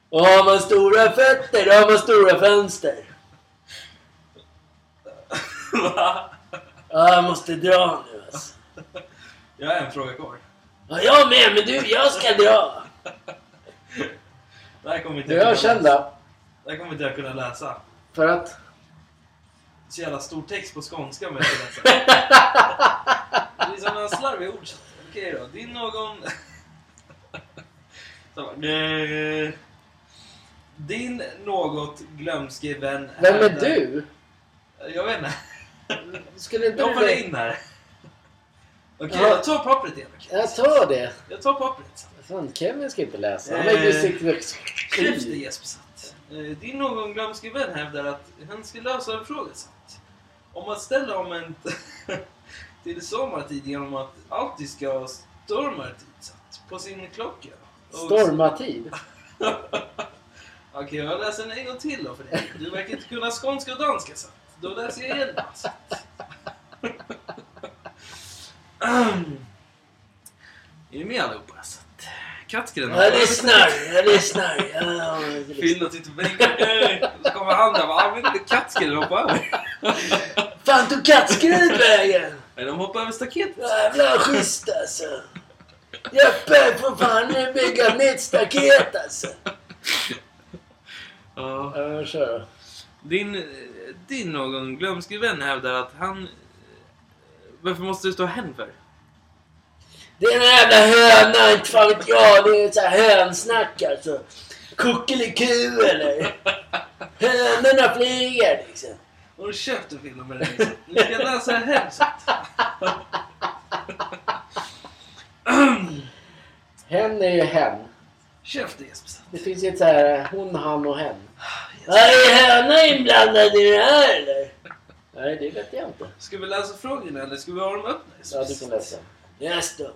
Och har man stora fötter, då har man stora fönster. Va? Ja, jag måste dra nu alltså. Jag har en fråga kvar. Ja, jag med, men du, jag ska dra. Det här kommer inte Nu är jag kända. Det här kommer inte jag kunna läsa. För att? Så jävla stor text på skånska med att läsa. Det är sådana slarviga ord. så- Okej då, din någon... Så bara, eh, Din något glömske vän Vem är där- du? Jag vet inte. Skulle inte Jag du... hoppade in här. Okej, Ja. jag tar pappret igen. okej. Jag tar det. Jag tar pappret. Fan, Kevin ska inte läsa. Han lägger ju Eh, sitt... Käften Jesper Satt. Mm. Eh, Din någon glömske vän hävdar att han ska lösa en fråga Satt. Om att ställa om en till sommartid genom att alltid ska ha stormartid Satt på sin klocka. Och- Stormatid. Okej, jag läser den en gång till då för dig. Du verkar inte kunna skånska och danska Satt. Då läser jag igen Satt. Är ni med allihopa Satt? Kattgren Jag lyssnar, jag lyssnar. Ja, jag lyssnar. Fylla sitt bänke. Så kommer han där och bara, "Ah, men inte kattskrällen hoppa över. Fan tog kattskrevet vägen? Nej, de hoppar över staketet. Jävla schysst alltså. Jeppe får fan nu bygga ett nytt staket alltså. Ja. Ja, kör då. Din, eh, din någon glömske vän hävdar att han... eh, Varför måste du stå hen för? Det är en jävla höna, inte fan vet jag. Det är så här hönsnack alltså. Kuckeliku eller? Hönorna flyger liksom. Och käften filmen med dig. Nu ska jag läsa hen så att- Hen är ju hen. Käften Jesper. så att- Det finns ju ett så här hon, han och hen. Är höna inblandad i det här eller? Nej, det vet jag inte. Ska vi läsa frågorna eller ska vi ha dem öppna? Jesper? Ja, du får läsa. Läs då.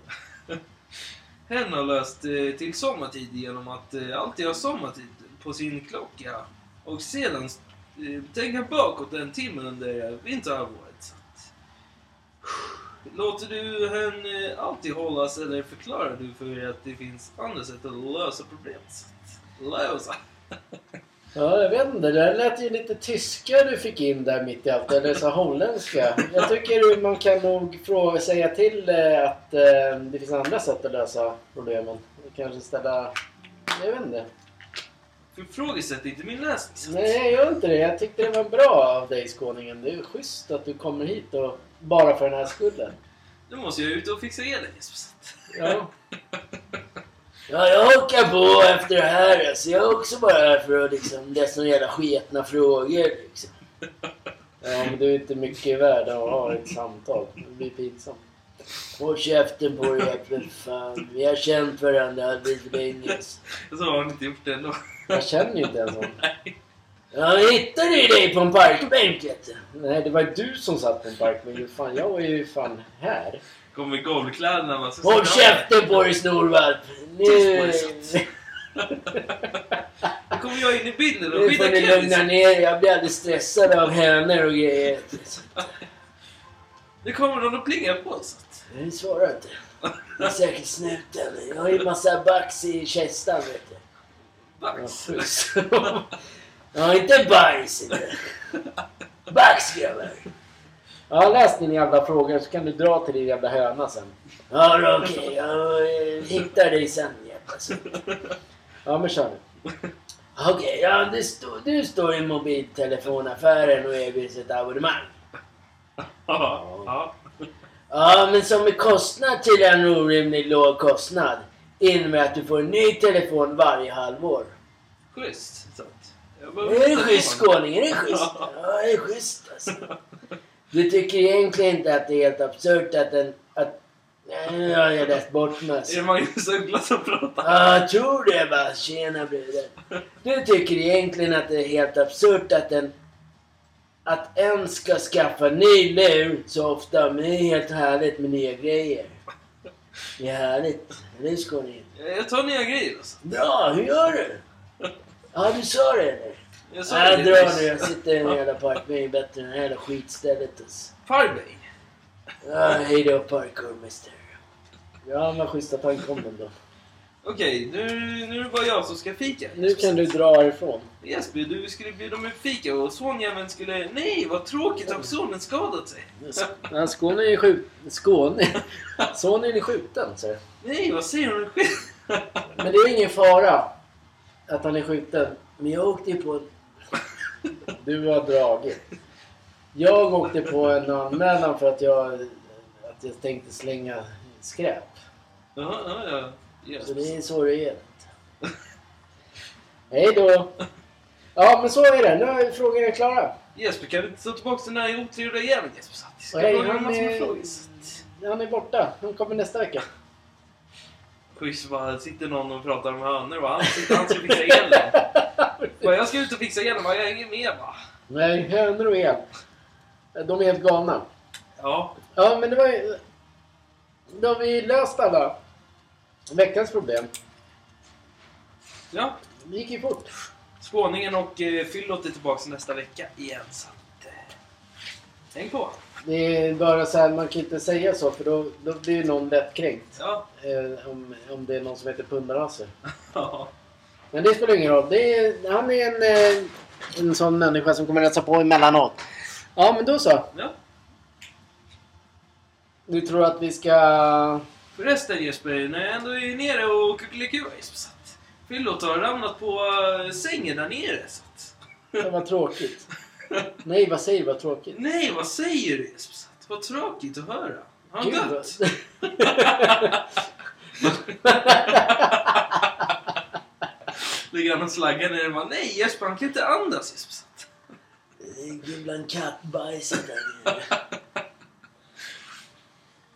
Hen har löst eh, till sommartid genom att eh, alltid ha sommartid på sin klocka och sedan eh, tänka bakåt en timme under eh, vinterhalvåret. Så att- Låter du hen eh, alltid hållas eller förklarar du för er att det finns andra sätt att lösa problem? Så att- Lösa? Ja, jag vet inte. Det där lät ju lite tyska du fick in där mitt i allt. Eller så holländska. Jag tycker man kan nog fråga, säga till eh, att eh, det finns andra sätt att lösa problemen. Kanske ställa... Jag vet inte. Förfrågesätt är inte min läsning. så att- Nej, jag gör inte det. Jag tyckte det var bra av dig, skåningen. Det är ju schysst att du kommer hit och bara för den här skullen. Nu måste jag ut och fixa elen Jesper. så att- Ja. Ja, jag hakar på efter det här. Alltså, jag är också bara här för att liksom, det är såna jävla sketna frågor. Liksom. Ja, men du är inte mycket värd att ha ett samtal. Det blir pinsamt. Håll käften på dig, för fan. Vi har känt varandra alldeles för länge. alltså. Så har han inte gjort det ändå. Jag känner ju inte ens honom. Jag hittade ju dig på en parkbänk, vet du. Nej, det var du som satt på en parkbänk. Fan, jag var ju fan här. Kommer i golvkläderna. man ska Håll sitta- käften på dig snorvalp! Nu... Tyst på dig, Sats. Nu kommer jag in i bilden och Nu får skyddar ni lugna Kevin. ner er. Jag blir alldeles stressad av hönor och grejer. Nu kommer någon och plingar på oss. Nu svarar inte. Det är säkert snuten. Jag har ju massa bax i kästan vet du. Vax. Ja, inte bajs inte. Bax grabbar! Ja, läs din jävla fråga så kan du dra till din jävla höna sen. Ja, då, okej. Jag eh, hittar dig sen jävla så. Ja, men kör nu. Okej, ja, du, stå, du står i mobiltelefonaffären och erbjuds ett abonnemang. Ja, ja. Ja, men som är kostnad till en orimligt låg kostnad innebär att du får en ny telefon varje halvår. Schysst. Så att jag Det behöver är inte schysst ta någon. skåning, det är schysst. Ja, det är schysst alltså. Du tycker egentligen inte att det är helt absurt att en... Att... Nej, nu har jag läst bort mig Är det alltså. Magnus Uggla som pratar? Ja, jag tror det va. Tjena bruden. Du tycker egentligen att det är helt absurt att en... Att en ska skaffa ny lur så ofta, men det är helt härligt med nya grejer. Det är härligt. Eller hur skåningen? Jag tar nya grejer alltså. Bra, hur gör du? Ja, du sa det eller? Jag sa Nej, jag det drar nu. Jag sitter i den här jävla parkbänken bättre än det här jävla skitstället. alltså. Firebay. Ja, hej då parkour mister. Ja, men schyssta tankommen då. Okej, nu, nu är det bara jag som ska fika. Nu kan du dra härifrån. Jesper, du skulle bjuda mig fika och sonjäveln skulle... Nej, vad tråkigt! Har sonen skadat sig? Ja, Skåne är ju skjuten. Skåne? Sonen är skjuten, så. Nej, vad säger hon själv? Men det är ingen fara att han är skjuten. Men jag åkte ju på en... Du har dragit. Jag åkte på en anmälan för att jag, att jag tänkte slänga skräp. Ja, ja, ja. Så Jesper. det är så det är. Hej då! Ja, men så är det. Nu är frågorna klara. Jesper, kan du inte ta tillbaka den där otrevliga jäveln Jesper Sattis? Nej, Jag har han massor med är- frågor. Han är borta. Han kommer nästa vecka. Schysst bara, sitter någon och pratar om hönor va? Han, sitter, han ska fixa elen. Bara, jag ska ut och fixa elen va? Jag hänger med va? Nej, hönor och el. De är helt galna. Ja, Ja, men det var ju... Då har vi löst alla veckans problem. ja. Det gick ju fort. Skåningen och eh, Fyllot är tillbaka nästa vecka igen. Så att, eh, häng på. Det är bara så här, man kan inte säga så för då, då blir ju någon lätt kränkt. Ja. Eh, om, om det är någon som heter pundarraser. ja. Men det spelar ingen roll. Det är, han är en, eh, en sån människa som kommer hälsa på emellanåt. Ja, men då så. ja. Du tror att vi ska... Förresten Jesper, när jag ändå är nere och kuckelikua Jesper. så att Fyllot har ramlat på eh, sängen där nere. Så att, Det var tråkigt. Nej, vad säger du? Vad tråkigt. nej, vad säger du Jesper? Så att, vad tråkigt att höra. Har han Gud, dött? vad- Ligger han och slaggar ner och bara nej Jesper, han kan inte andas Jesper. Så att, Gulan kattbajs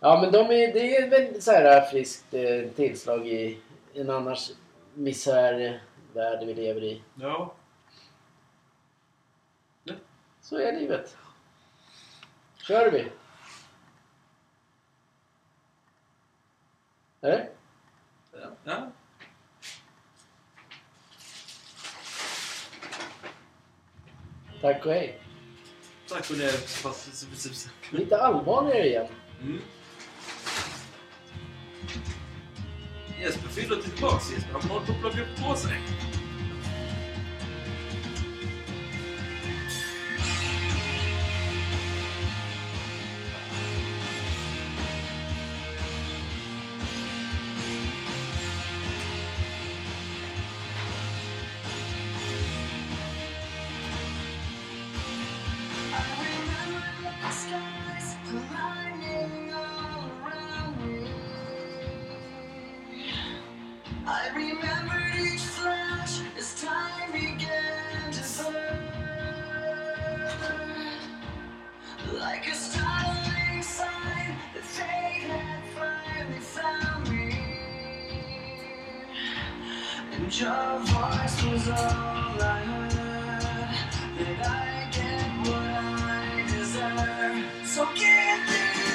Ja men de är, det är väl så här friskt eh, tillslag i en annars misärvärld vi lever i. Ja. Så är livet. Kör vi! Eller? Ja. ja. Tack och hej! Tack för det. Jesper. Så att- Lite allvarligare igen. Mm. Jesper fyller tillbaks Jesper. Han håller på att plocka upp på sig. I remember the skies climbing all around me. I remembered each flash as time began to burn, like a startling sign that fate had finally found me, and your voice was all I heard. Did I get what I deserve? So give me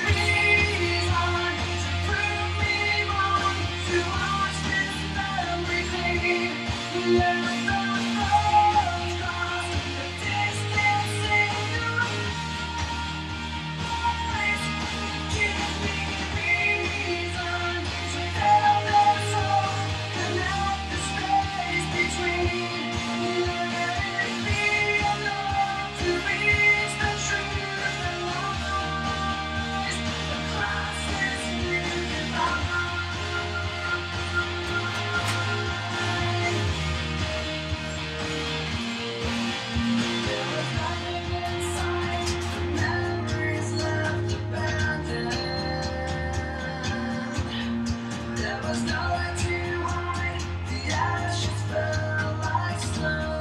reason to prove me wrong, to wash this memory clean. Let the thoughts cross the distance in your eyes. Give me reason to fill this hole, connect the space between. Let it be enough to reach the truth and lies across this new divide. There was nothing in sight, memories left abandoned. There was nowhere to hide, the ashes fell like snow.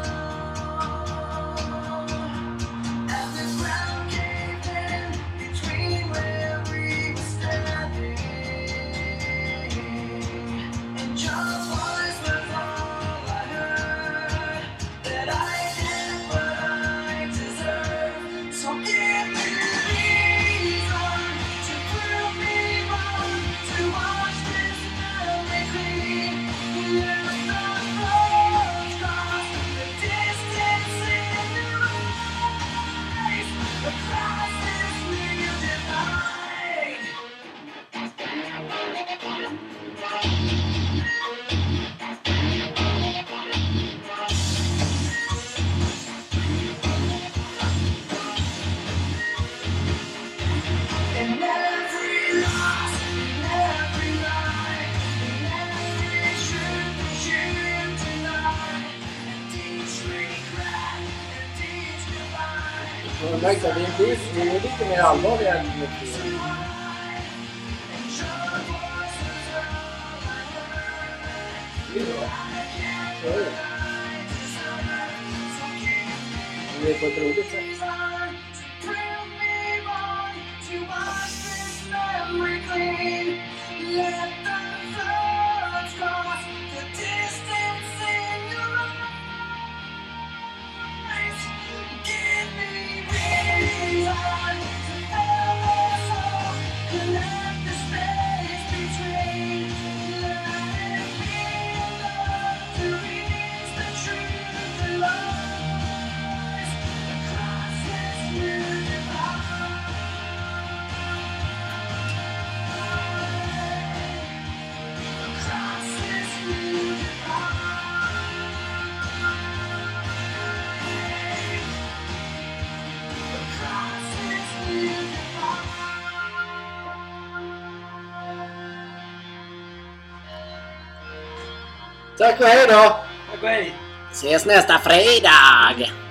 And the ground caved in between where we were standing. And your voice was all I heard. That I get what I deserve. So give me reason to prove me wrong. To wash this memory clean. Let the thoughts cross the distance in your eyes. Across this new divide. In every loss, in every lie, in every truth that you deny, and each regret, and each goodbye, Jag har märkt att det är, det är lite mer allvarligare än mycket. so I, and your voices are all I heard. Så är det. I det är på ett roligt sätt. Love. Across this universe Across this universe Across this universe Tack och hej då! Tack och hej! Ses nästa fredag!